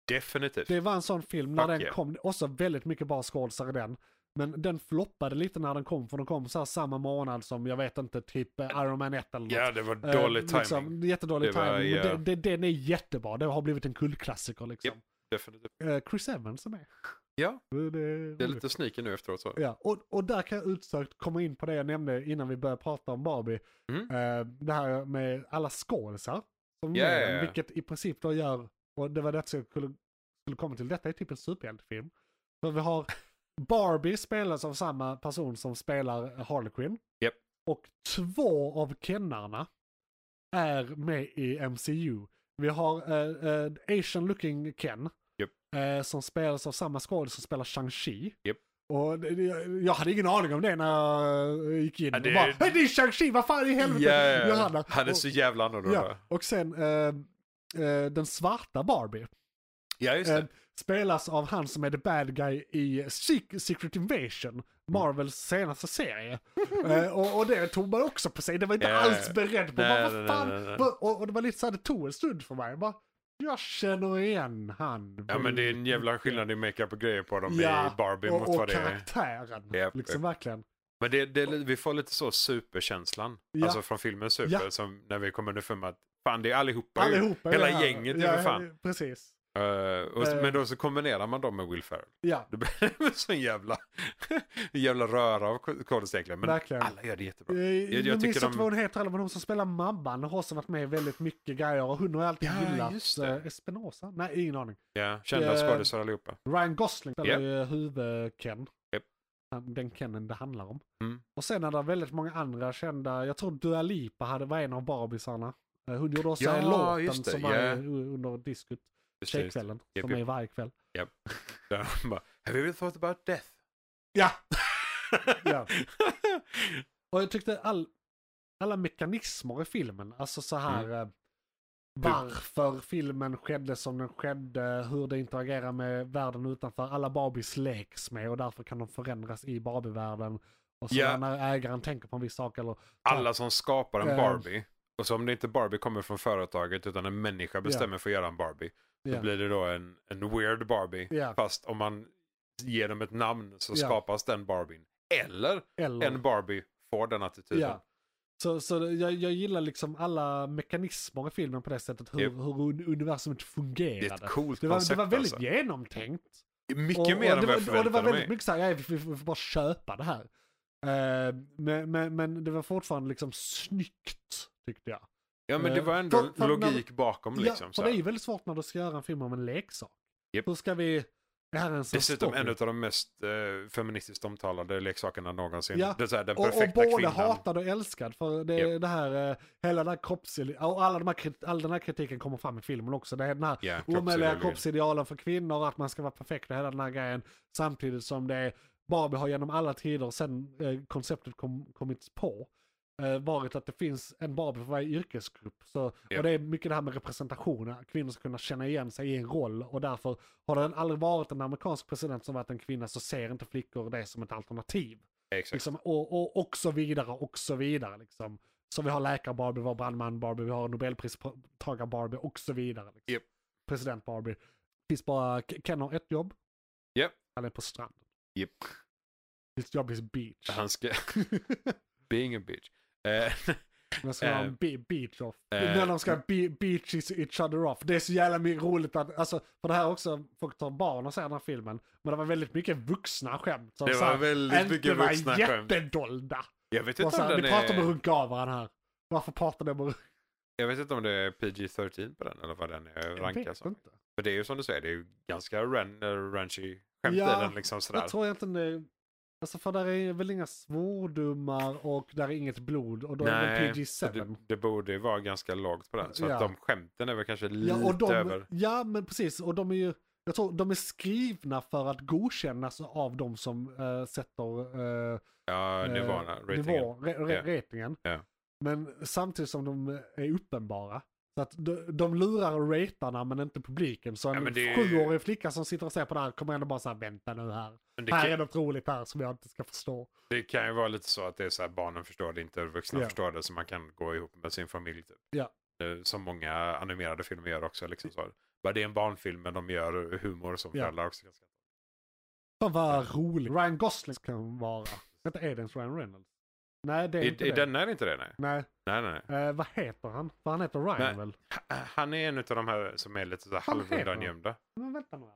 S3: Definitivt.
S1: Det var en sån film när
S3: Fuck
S1: den
S3: yeah.
S1: kom, också väldigt mycket bra skådisar i den. Men den floppade lite när den kom, för den kom så här samma månad som, jag vet inte, typ eh, Iron Man 1 eller något.
S3: Ja, det var
S1: Eh,
S3: dålig timing.
S1: Liksom, jättedålig
S3: Det var,
S1: timing. men
S3: ja.
S1: det- det- Den är jättebra, det har blivit en kultklassiker liksom.
S3: Definitivt.
S1: Eh, Chris Evans är med.
S3: Ja.
S1: Det, det,
S3: Det är lite sneaky nu efteråt så.
S1: Ja, och, och där kan jag utsökt komma in på det jag nämnde innan vi började prata om Barbie.
S3: Mm.
S1: Eh, det här med alla skådisar. Som
S3: Ja,
S1: gör
S3: ja,
S1: den,
S3: ja.
S1: Vilket i princip då gör, och det var det jag skulle, skulle komma till, detta är typ en superhjältefilm. För vi har Barbie spelas av samma person som spelar Harley Quinn.
S3: Japp.
S1: Och två av kennarna är med i MCU. Vi har eh, eh, Asian looking Ken.
S3: Japp.
S1: eh, som spelas av samma skådis som spelar Shang-Chi.
S3: Japp.
S1: Och det- det- jag hade ingen aning om det när jag eh, gick in.
S3: Ja,
S1: det...
S3: det-
S1: Och bara, "Hej, det är Shang-Chi, vad fan i helvete. Jag
S3: Yeah.
S1: hade-
S3: Han är
S1: och,
S3: så jävla annorlunda.
S1: ja, och sen eh, eh, den svarta Barbie.
S3: Ja, just
S1: Eh,
S3: det.
S1: spelas av han som är the bad guy i Sec- Secret Invasion, Marvels senaste serie. eh, och, och det tog man också på sig, det var inte
S3: Mm. Ja,
S1: alls beredd på.
S3: nej,
S1: bara,
S3: nej,
S1: vad
S3: nej,
S1: fan?
S3: nej, nej.
S1: Vad- Och, och det var lite så här, det tog en stund för mig. Jag, bara, jag känner igen han.
S3: Ja, men det är en jävla skillnad i makeup och grejer på dem i Barbie
S1: och,
S3: mot
S1: och
S3: vad det är.
S1: karaktären.
S3: Japp,
S1: Liksom verkligen.
S3: Men det, det, är li- vi får lite så superkänslan.
S1: Ja.
S3: Alltså från filmen Super.
S1: Ja.
S3: Som när vi kommer underfund med att fan det är allihopa, ju.
S1: Allihopa. är
S3: Hela
S1: det här.
S3: gänget ju
S1: ja,
S3: för fan.
S1: Precis.
S3: Eh, och,
S1: Eh.
S3: Men då så kombinerar man dem med Will Ferrell.
S1: Ja,
S3: Det blir så en jävla, en jävla röra av kodis egentligen. Men
S1: verkligen.
S3: alla gör det jättebra.
S1: Jag,
S3: jag
S1: Eh, jag minns
S3: tycker
S1: inte
S3: de-
S1: vad hon heter, eller men hon som spelar mamman har också varit med i väldigt mycket grejer och hon har jag alltid
S3: Ja,
S1: gillat.
S3: just det.
S1: Eh, Espinosa? Nej, ingen aning.
S3: Ja, kända
S1: Eh.
S3: skådisar allihopa.
S1: Ryan Gosling spelar
S3: Japp.
S1: ju eh, huvud-Ken.
S3: Japp.
S1: Han- Den Kenen det handlar om.
S3: Mm.
S1: Och sen är det väldigt många andra kända, jag tror Dua Lipa hade, var en av Barbiesarna. Eh, Hon gjorde också
S3: Ja,
S1: låten
S3: just det,
S1: som var
S3: ja.
S1: u- under diskot,
S3: Precis.
S1: tjejkvällen,
S3: Japp,
S1: som
S3: japp.
S1: är varje kväll.
S3: Där de bara, Have you ever thought about death?
S1: Ja! Ja. Och jag tyckte all, alla mekanismer i filmen, alltså så här
S3: Mm.
S1: eh, varför filmen skedde som den skedde, hur det interagerar med världen utanför, alla Barbies leks med och därför kan de förändras i Barbie-världen. Och så
S3: Ja.
S1: när ägaren tänker på en viss sak eller...
S3: Alla som skapar en
S1: Eh.
S3: Barbie, och så om det inte Barbie kommer från företaget utan en människa bestämmer för att göra en Barbie,
S1: Ja.
S3: då blir det då en, en weird Barbie.
S1: Ja.
S3: Fast om man ger dem ett namn så
S1: Ja.
S3: skapas den Barbien. Eller
S1: Eller...
S3: en typ. Barbie får den attityden.
S1: Ja. Så, så det- jag, jag gillar liksom alla mekanismer i filmen på det sättet, hur,
S3: Japp.
S1: hur un- universumet
S3: Det är
S1: fungerade.
S3: ett coolt
S1: Det var, det
S3: koncept
S1: var väldigt
S3: alltså.
S1: genomtänkt.
S3: Mycket
S1: och,
S3: mer
S1: och
S3: än
S1: det
S3: vad
S1: var,
S3: jag
S1: och det var
S3: förväntade
S1: väldigt
S3: mig.
S1: mycket såhär, ja, vi, vi, vi får bara köpa det här. Eh, men, men, men det var fortfarande liksom snyggt, tyckte jag.
S3: Ja men det var ändå
S1: Mm. För- för när-
S3: logik bakom Mm, liksom.
S1: ja, för
S3: så här.
S1: det är ju väldigt svårt när du ska göra en film om en leksak.
S3: Japp.
S1: Hur ska vi... Det här är en sån
S3: Dessutom
S1: story.
S3: en av de mest eh, feministiskt omtalade leksakerna någonsin.
S1: Ja.
S3: Det är så här, den
S1: Och, och
S3: perfekta
S1: både
S3: kvinnan.
S1: hatad och älskad för det,
S3: Japp.
S1: det här, eh, hela den här kroppsidealet, och alla de här, krit- all den här kritiken kommer fram i filmen också. Det är den här
S3: Ja,
S1: omöjliga
S3: kroppsideologin.
S1: kroppsidealen för kvinnor, att man ska vara perfekt och hela den här grejen. Samtidigt som det är Barbie har genom alla tider sen eh, konceptet kom, kommit på eh, varit att det finns en Barbie för varje yrkesgrupp. Så,
S3: Ja.
S1: Och det är mycket det här med representation, att kvinnor ska kunna känna igen sig i en roll och därför har det aldrig varit en amerikansk president som varit en kvinna så ser inte flickor det som ett alternativ.
S3: Exakt.
S1: Liksom, och, och, och så vidare, och så vidare. Liksom. Så vi har läkar-Barbie, vi har brandman-Barbie, vi har nobelpristagare-Barbie och så vidare. Liksom.
S3: Japp.
S1: President-Barbie. Finns bara, K- Ken har ett jobb.
S3: Japp.
S1: Han är på stranden.
S3: Japp.
S1: Ditt jobb är beach.
S3: Han ska... Being a bitch. Eh,
S1: Man ska ha
S3: Eh.
S1: en be- beach off.
S3: Eh.
S1: När de ska be- beach is- each other off. Det är så jävla mycket roligt att, alltså, för det här är också, folk tar barn och ser den här filmen. Men det var väldigt mycket vuxna skämt. Som
S3: det
S1: så
S3: var
S1: här,
S3: väldigt mycket vuxna
S1: Inte var
S3: skämt.
S1: jättedolda.
S3: Jag vet inte
S1: Och så
S3: om
S1: här,
S3: den
S1: ni pratar om att
S3: är...
S1: runka av varandra här. Varför pratar ni om att runka?
S3: Jag vet inte om det är PG-13 på den eller vad den är rankad som.
S1: inte.
S3: För det är ju som du säger, det är ju ganska ran, eh, ranchy skämt
S1: Ja,
S3: i den liksom sådär.
S1: Jag tror egentligen det... Alltså för där är väl inga svordomar och där är inget blod och då är det
S3: Nej,
S1: väl
S3: så typ det,
S1: PG-7.
S3: det borde ju vara ganska lågt på den. Så
S1: Ja.
S3: att de skämten är väl kanske lite
S1: Ja, och de,
S3: över.
S1: ja, men precis. Och de är ju... Jag tror de är skrivna för att godkännas av de som eh, sätter eh,
S3: Ja, nivåerna,
S1: eh,
S3: ratingen.
S1: nivå- ra- ra-
S3: Ja.
S1: ratingen.
S3: Ja.
S1: Men samtidigt som de är uppenbara. Så att de, de lurar ratarna men inte publiken. Så
S3: Ja,
S1: en
S3: men det är ju-
S1: sjuårig flicka som sitter och ser på det här kommer ändå bara säga vänta nu här.
S3: Men det
S1: här
S3: kan-
S1: är något roligt här som jag inte ska förstå.
S3: Det kan ju vara lite så att det är så här barnen förstår det inte, vuxna
S1: Ja.
S3: förstår det, så man kan gå ihop med sin familj. Typ.
S1: Ja.
S3: Eh, Som många animerade filmer gör också. Liksom så. Bara det är en barnfilm, men de gör humor som
S1: Ja.
S3: föräldrar också. kan skratta.
S1: Fan vad roligt. Ryan Gosling kan vara. Inte är det ens Ryan Reynolds? Nej det är inte
S3: I, I
S1: det.
S3: den är det inte det, nej.
S1: Nej,
S3: nej, nej, nej.
S1: eh, vad heter han? För han heter Ryan
S3: Nej.
S1: väl?
S3: H- Eh, Han är en av de här som är lite så här
S1: Han heter
S3: halvundan
S1: något.
S3: gömda.
S1: Men vänta nu här.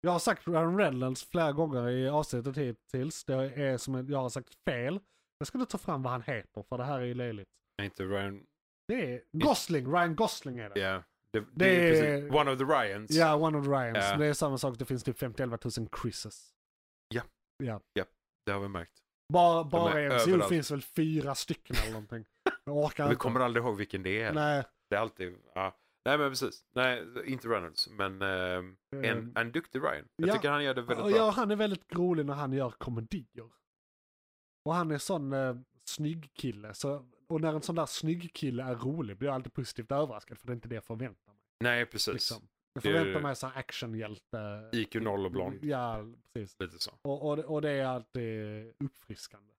S1: Jag har sagt Ryan Reynolds flera gånger i avsnittet hittills. Det är som att jag har sagt fel. Jag skulle ta fram vad han heter för det här är ju löjligt.
S3: Nej, Inte Ryan.
S1: Det är Gosling, Ryan Gosling är det.
S3: Ja, Det, det, är
S1: är-
S3: precis. One of the Ryans.
S1: Ja, One of the Ryans.
S3: Ja.
S1: Men Det är samma sak, det finns typ 50 000 Chrises.
S3: Det har vi märkt.
S1: Bara, bara
S3: är
S1: en. Så det
S3: överallt.
S1: finns väl fyra stycken eller någonting. Jag orkar
S3: Vi
S1: inte.
S3: kommer aldrig ihåg vilken det är.
S1: Nej,
S3: Det är alltid... Ja. Nej, men precis. Nej, inte Reynolds, men ehm, en, en duktig Ryan. Jag
S1: Mm. ja.
S3: tycker han gör det väldigt
S1: Eh, och
S3: bra.
S1: ja, han är väldigt rolig när han gör komedier. Och han är sån eh, snygg kille. Så, och när en sån där snygg kille är rolig blir jag alltid positivt överraskad för det är inte det jag förväntar mig.
S3: Nej, precis.
S1: Liksom. Jag
S3: Det är-
S1: förväntar mig sån här actionhjälte.
S3: IQ noll och blond.
S1: Ja, precis.
S3: Lite så.
S1: Och, och, det- och det är alltid uppfriskande.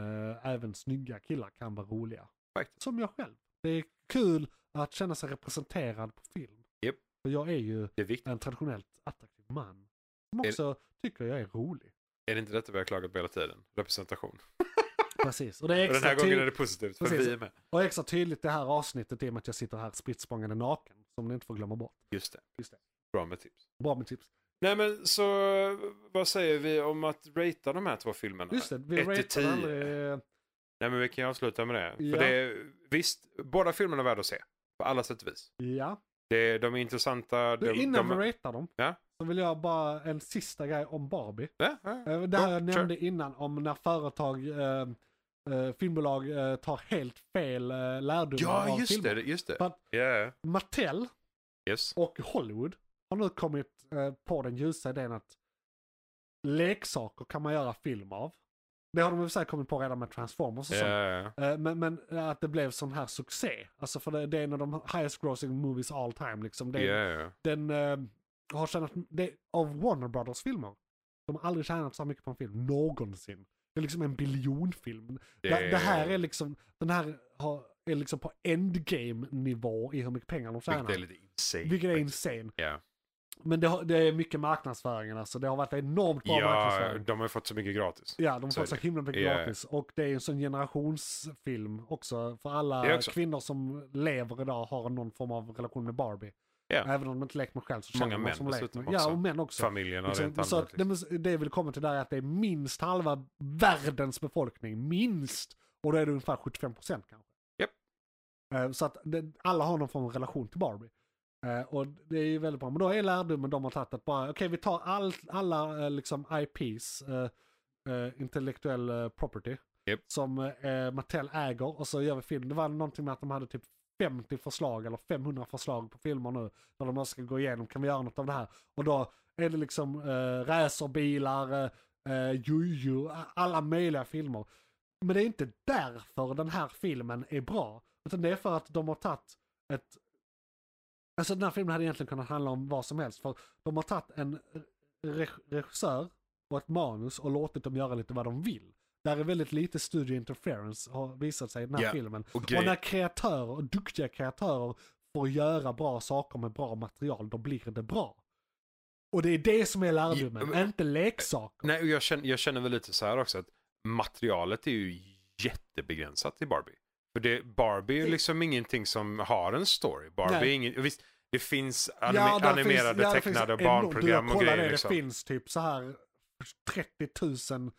S1: Eh, även snygga killar kan vara roliga.
S3: Faktiskt.
S1: Som jag själv. Det är kul att känna sig representerad på film.
S3: Japp.
S1: För jag är ju
S3: Det är viktigt.
S1: en traditionellt attraktiv man. Som
S3: Är-
S1: också tycker jag är rolig.
S3: Är det inte detta vi har klagat på hela tiden? Representation.
S1: Precis. Och det är
S3: Och den
S1: extra,
S3: här gången är
S1: ty-
S3: det positivt, för
S1: Precis.
S3: vi är med.
S1: och extra tydligt det här avsnittet i och med att jag sitter här spritt språngande naken. Som ni inte får glömma bort.
S3: Just det.
S1: Just det.
S3: Bra med tips.
S1: Bra med tips.
S3: Nej men så eh, vad säger vi om att ratea de här två filmerna?
S1: Just det, vi
S3: Ett
S1: ratear
S3: till tio.
S1: aldrig...
S3: Nej men vi kan ju avsluta med det.
S1: Ja.
S3: För det är, visst, båda filmerna är värda att se. På alla sätt och vis.
S1: Ja.
S3: Det, är- de är intressanta.
S1: Du,
S3: de,
S1: innan
S3: de,
S1: vi ratear dem
S3: Ja.
S1: så vill jag bara en sista grej om Barbie.
S3: ja, ja.
S1: Eh, Det här
S3: Ja,
S1: jag
S3: kör.
S1: nämnde innan om när företag, eh, eh, filmbolag eh, tar helt fel eh, lärdomar
S3: ja
S1: av
S3: just
S1: filmer.
S3: det, just det.
S1: För att
S3: Ja, yeah.
S1: Mattel
S3: yes.
S1: och Hollywood har nu kommit eh, på den ljusa idén att leksaker kan man göra film av. Det har de i och för sig kommit på redan med Transformers och
S3: Ja,
S1: sånt.
S3: ja,
S1: Eh, Men, men att det blev sån här succé. Alltså för det, det är en av de highest grossing movies all time. Liksom. Det,
S3: ja.
S1: är-
S3: Ja,
S1: den eh, har tjänat, det, av Warner Brothers filmer, de har aldrig tjänat så mycket på en film någonsin. Det är liksom en biljonfilm. Det, det, här är liksom, den här har, är liksom på endgame-nivå i hur mycket pengar de
S3: Vilket
S1: tjänar.
S3: är lite insane.
S1: Vilket är
S3: faktiskt.
S1: insane.
S3: Ja.
S1: Men det, har, det är mycket marknadsföringen alltså. Det har varit enormt bra
S3: Ja,
S1: marknadsföring.
S3: de har ju fått så mycket gratis.
S1: Ja, de
S3: så
S1: får
S3: är
S1: så
S3: det.
S1: himla mycket
S3: Ja.
S1: gratis. Och det är ju en sån generationsfilm också. För
S3: Det
S1: alla
S3: också.
S1: kvinnor som lever idag har någon form av relation med Barbie.
S3: Ja.
S1: Även om de inte lekt med själv så
S3: Många
S1: känner de någon
S3: män
S1: som lekt
S3: dessutom
S1: med. Ja,
S3: också.
S1: och män också.
S3: Familjerna rent
S1: Liksom, så
S3: allmänt.
S1: att, det,
S3: Liksom.
S1: men det jag vill komma till där är att det är minst halva världens befolkning, minst. Och då är det ungefär 75 procent kanske.
S3: Japp.
S1: Eh, Så att det, alla har någon form av relation till Barbie. Eh, Och det är ju väldigt bra. Men då är lärdomen de har tagit att bara, okej vi tar all, alla eh, liksom IPs, eh, eh, intellektuell eh, property,
S3: Japp.
S1: som eh, Mattel äger och så gör vi film. Det var någonting med att de hade typ 50 förslag eller 500 förslag på filmer nu. När de bara ska gå igenom, kan vi göra något av det här? Och då är det liksom eh, racerbilar, eh, eh, jojo, alla möjliga filmer. Men det är inte därför den här filmen är bra. Utan det är för att de har tagit ett... Alltså den här filmen hade egentligen kunnat handla om vad som helst. För de har tagit en reg- regissör och ett manus och låtit dem göra lite vad de vill. Där är väldigt lite studio interference har visat sig i den här
S3: Ja.
S1: filmen.
S3: Och
S1: Och
S3: grejen-
S1: när kreatörer, och duktiga kreatörer, får göra bra saker med bra material, då blir det bra. Och det är det som är lärdomen,
S3: Ja, men-
S1: inte leksaker.
S3: Nej, och jag känner, jag känner väl lite så här också att materialet är ju jättebegränsat i Barbie. För det, Barbie är ju liksom ingenting som har en story. Barbie
S1: Nej.
S3: är ingen, visst, det finns anime,
S1: där
S3: animerade,
S1: ja, det finns
S3: tecknade
S1: enormt-
S3: barnprogram
S1: du, jag
S3: och
S1: kollar
S3: grejer.
S1: Det,
S3: liksom.
S1: det finns typ så här 30 000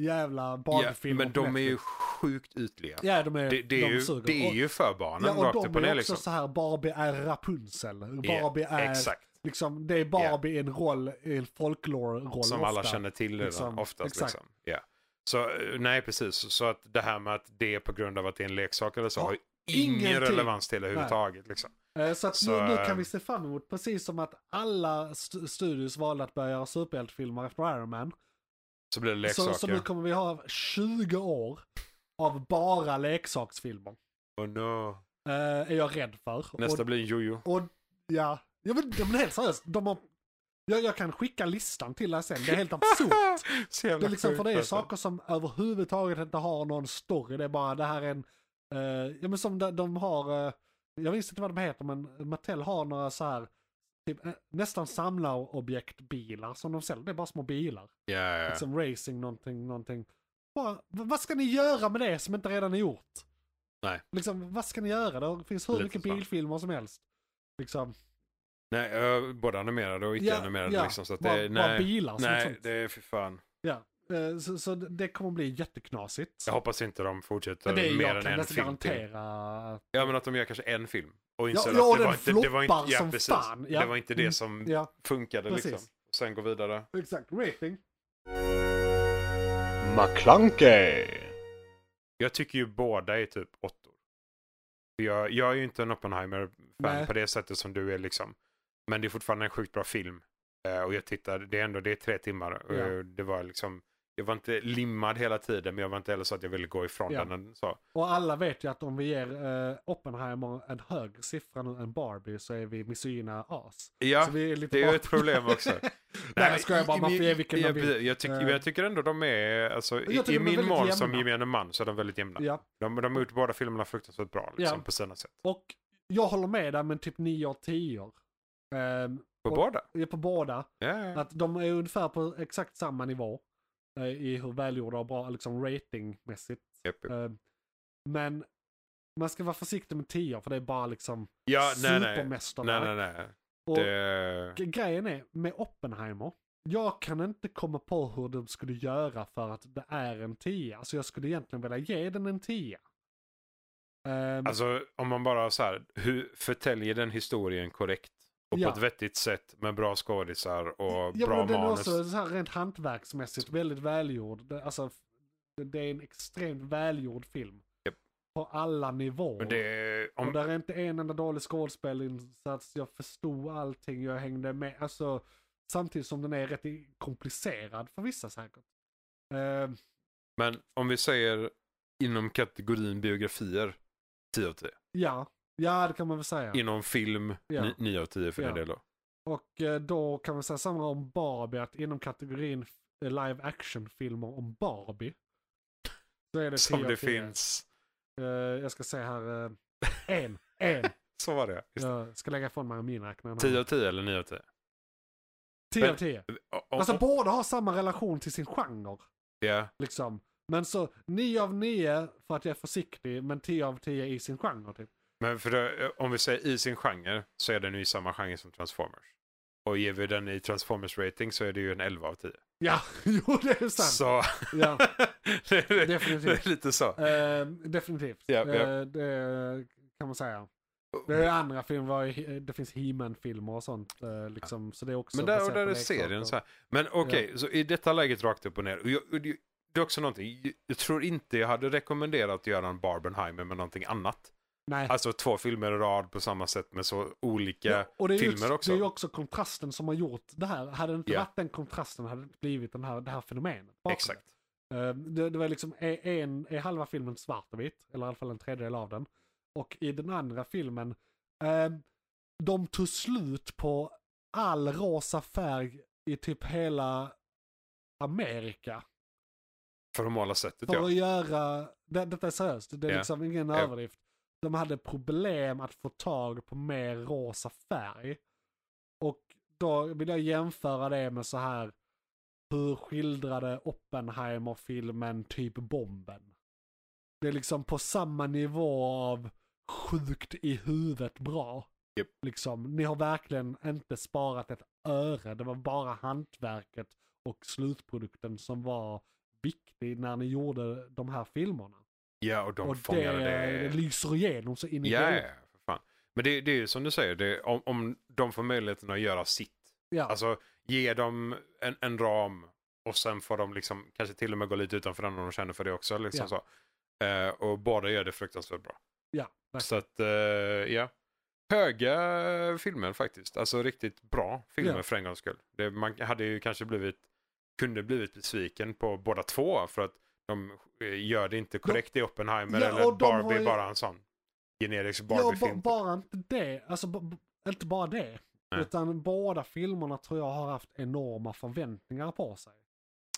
S1: jävla
S3: ja,
S1: barnfilmer
S3: men
S1: på
S3: de är ju
S1: Netflix.
S3: sjukt ytliga.
S1: Ja, de är,
S3: det, det, är
S1: de
S3: ju,
S1: suger.
S3: det är
S1: Och-
S3: ju för barnen
S1: Ja,
S3: rakt
S1: och
S3: upp
S1: de
S3: och
S1: är också
S3: ner liksom.
S1: så här, Barbie är Rapunzel.
S3: Ja,
S1: Barbie är,
S3: Exakt,
S1: liksom, det är Barbie i en roll, i en folklore-roll
S3: som alla
S1: ofta.
S3: känner till redan
S1: liksom.
S3: oftast.
S1: Exakt.
S3: Liksom. Ja. Så eh, nej, precis. Så att det här med att det är på grund av att det är en leksak eller så
S1: Ja,
S3: har ju ingen
S1: ingenting.
S3: relevans till det överhuvudtaget. Liksom.
S1: Eh, Så att
S3: Så,
S1: nu, nu kan
S3: ehm,
S1: vi se fram emot, precis som att alla st- studios valde att börja göra superhjältefilmer efter Iron Man.
S3: Så blir det leksaker.
S1: Så, så nu kommer vi ha 20 år av bara leksaksfilmer.
S3: Oh no.
S1: Eh, är jag rädd för.
S3: Nästa
S1: och,
S3: blir en jojo.
S1: och ja, jag men, ja, men helt seriöst, de har, jag, jag kan skicka listan till dig sen, det är helt absurt.
S3: Så jävla
S1: Det är liksom,
S3: sjukt
S1: för det är
S3: alltså.
S1: saker som överhuvudtaget inte har någon story. Det är bara det här är en... eh, ja men som de, de har... eh, jag minns inte vad de heter men Mattel har några så här... Typ, eh, nästan samlarobjektbilar som de säljer. Det är bara små bilar.
S3: Ja, ja, ja.
S1: Liksom racing någonting, någonting. Bara, v- vad ska ni göra med det som inte redan är gjort?
S3: Nej.
S1: Liksom, vad ska ni göra? Det finns hur
S3: Lite
S1: mycket
S3: så.
S1: bilfilmer som helst. Liksom,
S3: Nej, ö, både animerade och
S1: Ja,
S3: icke-animerade
S1: ja.
S3: liksom. Så att det,
S1: bara, bara
S3: nej,
S1: bilar. som
S3: nej
S1: sånt.
S3: det är för fan.
S1: Ja. Eh, Så, så det kommer bli jätteknasigt.
S3: Jag hoppas inte de fortsätter
S1: Men det är
S3: mer
S1: jag
S3: än
S1: kan
S3: en
S1: nästan
S3: film till.
S1: garantera. att-
S3: Ja, men att de gör kanske en film. Och
S1: Ja,
S3: inser
S1: ja,
S3: att det
S1: den
S3: var, inte, det var inte,
S1: floppar
S3: ja,
S1: som
S3: precis.
S1: fan. Ja.
S3: Det var inte
S1: Mm.
S3: det som
S1: Ja,
S3: funkade
S1: Precis.
S3: liksom. Sen gå vidare.
S1: exakt. Rating.
S4: McClunkey.
S3: Jag tycker ju båda är typ åttor. För Jag, jag är ju inte en Oppenheimer-fan
S1: Nej.
S3: på det sättet som du är liksom. Men det är fortfarande en sjukt bra film. Eh, och jag tittar, det är ändå det är tre timmar. Och
S1: Ja.
S3: jag- det var liksom, jag var inte limmad hela tiden men jag var inte heller så att jag ville gå ifrån
S1: Ja.
S3: den. Så.
S1: Och alla vet ju att om vi ger eh, Oppenheimer en högre siffra nu än Barbie så är vi misogyna as.
S3: Ja,
S1: så vi är lite
S3: det är ju
S1: bak-
S3: ett problem också. Nej,
S1: Nej,
S3: men
S1: jag skojar bara.
S3: i-
S1: Man får
S3: i-
S1: ge vilken man
S3: jag,
S1: vill. Eh.
S3: precis. jag, tycker, men jag tycker ändå de är, alltså, i,
S1: jag tycker
S3: i
S1: de är
S3: min
S1: väldigt
S3: mål som
S1: jämna.
S3: gemene man så är de väldigt jämna.
S1: Ja.
S3: De, de har gjort båda filmerna fruktansvärt bra liksom,
S1: Ja.
S3: på sina sätt.
S1: Och jag håller med där men typ 9 av 10. Um,
S3: På
S1: Och-
S3: båda.
S1: på båda.
S3: Ja, ja.
S1: Att de är ungefär på exakt samma nivå. eh, I hur välgjorda och bra, liksom ratingmässigt.
S3: Japp, japp.
S1: Eh, men man ska vara försiktig med 10 för det är bara liksom
S3: Ja, nej, nej.
S1: supermästarverk.
S3: Nej, nej, nej.
S1: Och
S3: Det...
S1: g- grejen är, med Oppenheimer, jag kan inte komma på hur de skulle göra för att det är en 10. Alltså jag skulle egentligen vilja ge den en 10. Ehm,
S3: Alltså om man bara så här, hur förtäljer den historien korrekt? Och
S1: Ja.
S3: på ett vettigt sätt med bra skådisar och
S1: ja,
S3: bra
S1: men den är
S3: manus.
S1: också så här, rent hantverksmässigt väldigt välgjord. Det- Alltså, f- det- det är en extremt välgjord film.
S3: Japp.
S1: På alla nivåer.
S3: Men det är,
S1: Och
S3: om,
S1: där är inte en enda dålig skådespelinsats, jag förstod allting, jag hängde med. Alltså, samtidigt som den är rätt i- komplicerad för vissa säkert. Ehm,
S3: men om vi säger inom kategorin biografier 10 av 10.
S1: Ja, ja det kan man väl säga.
S3: Inom film
S1: Ja.
S3: ni- 9 av 10 för
S1: Ja.
S3: den delen. då.
S1: Och eh, då kan man säga samma om Barbie, att inom kategorin f- live action-filmer om Barbie. Så är det 10
S3: Som
S1: av
S3: det
S1: 10.
S3: finns.
S1: Eh, jag ska säga här, eh, en, en.
S3: Så var det. Just.
S1: Jag ska lägga ifrån mig min räknare.
S3: 10 av 10 eller 9 av 10?
S1: 10 av
S3: Men-
S1: 10.
S3: Och- och-
S1: Alltså båda har samma relation till sin genre.
S3: ja,
S1: Liksom. Men så 9 av 9 för att jag är försiktig, men 10 av 10 i sin genre. Typ.
S3: men för det, om vi säger i sin genre så är den ju i samma genre som Transformers. Och ger vi den i Transformers rating så är det ju en 11 av 10.
S1: Ja, jo det är sant.
S3: Så
S1: Ja,
S3: det, det,
S1: Definitivt.
S3: det är lite så.
S1: eh, definitivt.
S3: Ja, ja.
S1: Eh, det kan man säga. Det är ju andra filmer, vad är- det finns He-Man-filmer och sånt. Eh, liksom, så det är också
S3: Men där, och
S1: baserat
S3: där
S1: på
S3: är
S1: leksaker.
S3: serien så här. Men okej, så i detta läget rakt upp och ner. Och jag, och det, det är också någonting, jag tror inte jag hade rekommenderat Göran Barbenheimer med någonting annat.
S1: Nej.
S3: Alltså två filmer i rad på samma sätt med så olika
S1: Ja, och det är
S3: filmer
S1: ju,
S3: också.
S1: Det är ju också kontrasten som har gjort det här. Hade det inte
S3: Ja.
S1: varit den kontrasten hade det inte blivit den här, det här fenomenet. bakom
S3: Exakt.
S1: det. Eh, Det, det var liksom är en, är halva filmen svart och vitt, eller i alla fall en tredjedel av den. Och i den andra filmen, eh, de tog slut på all rosa färg i typ hela Amerika.
S3: För att måla sättet
S1: För
S3: ja.
S1: att göra, det, detta är seriöst, det är
S3: Ja.
S1: liksom ingen
S3: Ja.
S1: överdrift. De hade problem att få tag på mer rosa färg. Och då vill jag jämföra det med så här, hur skildrade Oppenheimer-filmen typ bomben? Det är liksom på samma nivå av sjukt i huvudet bra.
S3: Japp.
S1: Liksom, ni har verkligen inte sparat ett öre. Det var bara hantverket och slutprodukten som var viktig när ni gjorde de här filmerna.
S3: Ja, och de
S1: och
S3: fångade det.
S1: lyser igenom så in i
S3: Ja, ja,
S1: helvete.
S3: för fan. Men det, det är ju som du säger, det, om, om de får möjligheten att göra sitt
S1: ja.
S3: Alltså ge dem en, en ram och sen får de liksom kanske till och med gå lite utanför den om de känner för det också. Liksom
S1: Ja.
S3: så. Eh, och båda gör det fruktansvärt bra.
S1: ja, verkligen.
S3: Så att, eh, ja. Höga filmer faktiskt. Alltså riktigt bra filmer
S1: Ja.
S3: för en gångs skull. Det, man hade ju kanske blivit, kunde blivit besviken på båda två för att de eh, gör det inte korrekt i Oppenheimer
S1: Ja,
S3: eller
S1: och de har
S3: Barbie,
S1: ju-
S3: bara en sån generisk
S1: Ja, ba-
S3: Barbie-film.
S1: bara inte det. Alltså, ba- ba- inte bara det.
S3: Nej.
S1: Utan båda filmerna tror jag har haft enorma förväntningar på sig.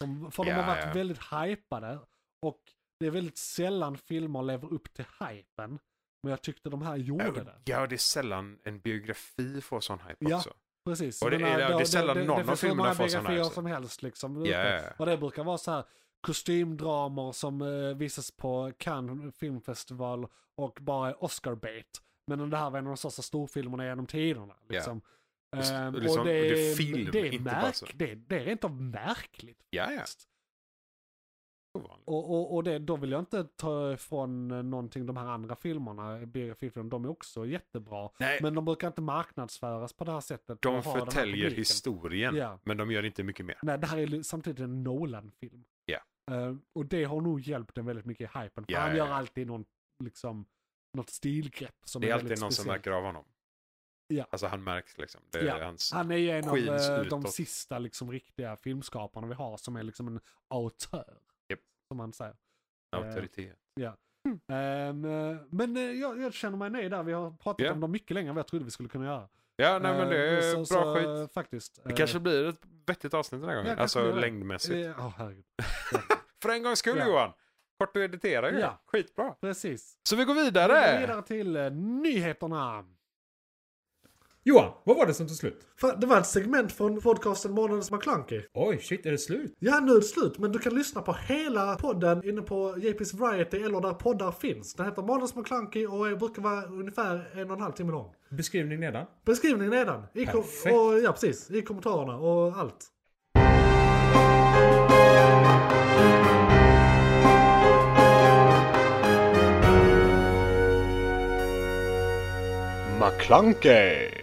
S1: De, för de
S3: Ja,
S1: har varit
S3: ja.
S1: väldigt hypade. Och det är väldigt sällan filmer lever upp till hypen. Men jag tyckte de här gjorde
S3: Ja, Äh, och-
S1: det.
S3: ja, det är sällan en biografi får sån hype
S1: Ja.
S3: också.
S1: Precis.
S3: Och det
S1: Jag
S3: är-
S1: menar,
S3: det är sällan någon av
S1: finns hur
S3: filmerna
S1: många
S3: får såna här,
S1: biografier
S3: så.
S1: som helst liksom.
S3: Ja, ja, ja.
S1: Och det brukar vara så här kostymdramer som eh, visas på Cannes filmfestival och bara är Oscar-bait. Men det här var en av de största storfilmerna genom tiderna. Liksom.
S3: Just-
S1: Ehm,
S3: liksom,
S1: och det är,
S3: det är film,
S1: det är,
S3: inte bara så.
S1: märk, det, är- det är rent av märkligt.
S3: Ja, ja.
S1: faktiskt.
S3: Ovanligt.
S1: Och, och, och det, då vill jag inte ta ifrån eh, någonting de här andra filmerna, biografifilmerna, de är också jättebra.
S3: Nej,
S1: Men de brukar inte marknadsföras på det här sättet.
S3: Eh. de
S1: och ha den här
S3: förtäljer
S1: publiken.
S3: historien,
S1: Ja.
S3: men de gör inte mycket mer.
S1: Nej, det här är li- samtidigt en Nolan-film.
S3: Ja.
S1: Eh, och det har nog hjälpt den väldigt mycket i hypen. För
S3: Ja,
S1: han
S3: ja,
S1: gör
S3: ja.
S1: alltid någon, liksom, något stilgrepp som
S3: Det är
S1: är
S3: alltid
S1: väldigt
S3: någon som
S1: speciellt.
S3: märker av honom.
S1: Ja.
S3: Alltså han märks liksom. Det är
S1: Ja.
S3: hans...
S1: Han är ju en av
S3: skins
S1: eh, de
S3: utåt.
S1: sista liksom, riktiga filmskaparna vi har som är liksom en autör.
S3: Japp. Mm.
S1: Som man säger.
S3: Auktoritet.
S1: Ehm, eh, men eh, jag, jag känner mig nöjd där. Vi har pratat
S3: Ja.
S1: om dem mycket längre än vad jag trodde vi skulle kunna göra.
S3: Ja, nej men det är
S1: Eh,
S3: bra
S1: så- så, eh,
S3: skit.
S1: Faktiskt.
S3: Det kanske blir ett vettigt avsnitt den här
S1: Ja,
S3: gången.
S1: kanske
S3: alltså
S1: det är.
S3: längdmässigt.
S1: blir... eh, Ja, herregud.
S3: För en gångs skull
S1: Ja.
S3: Johan. Kort och editera ju.
S1: Ja.
S3: Skitbra.
S1: Precis.
S3: Så vi går
S1: Vi
S3: vidare.
S1: går vidare till eh, nyheterna.
S2: Johan, vad var det som tog slut?
S1: Fan, Det var ett segment från podcasten Månadens McKlunky.
S2: Oj, shit, är det slut?
S1: Ja, nu är det slut, men du kan lyssna på hela podden inne på JP's Variety eller där poddar finns. Den heter Månadens McKlunky och är- brukar vara ungefär en och en halv timme lång.
S2: Beskrivning nedan.
S1: Beskrivningen nedan. I kom-
S2: Perfekt.
S1: och, ja, precis. I kommentarerna och allt.
S4: McClunkey.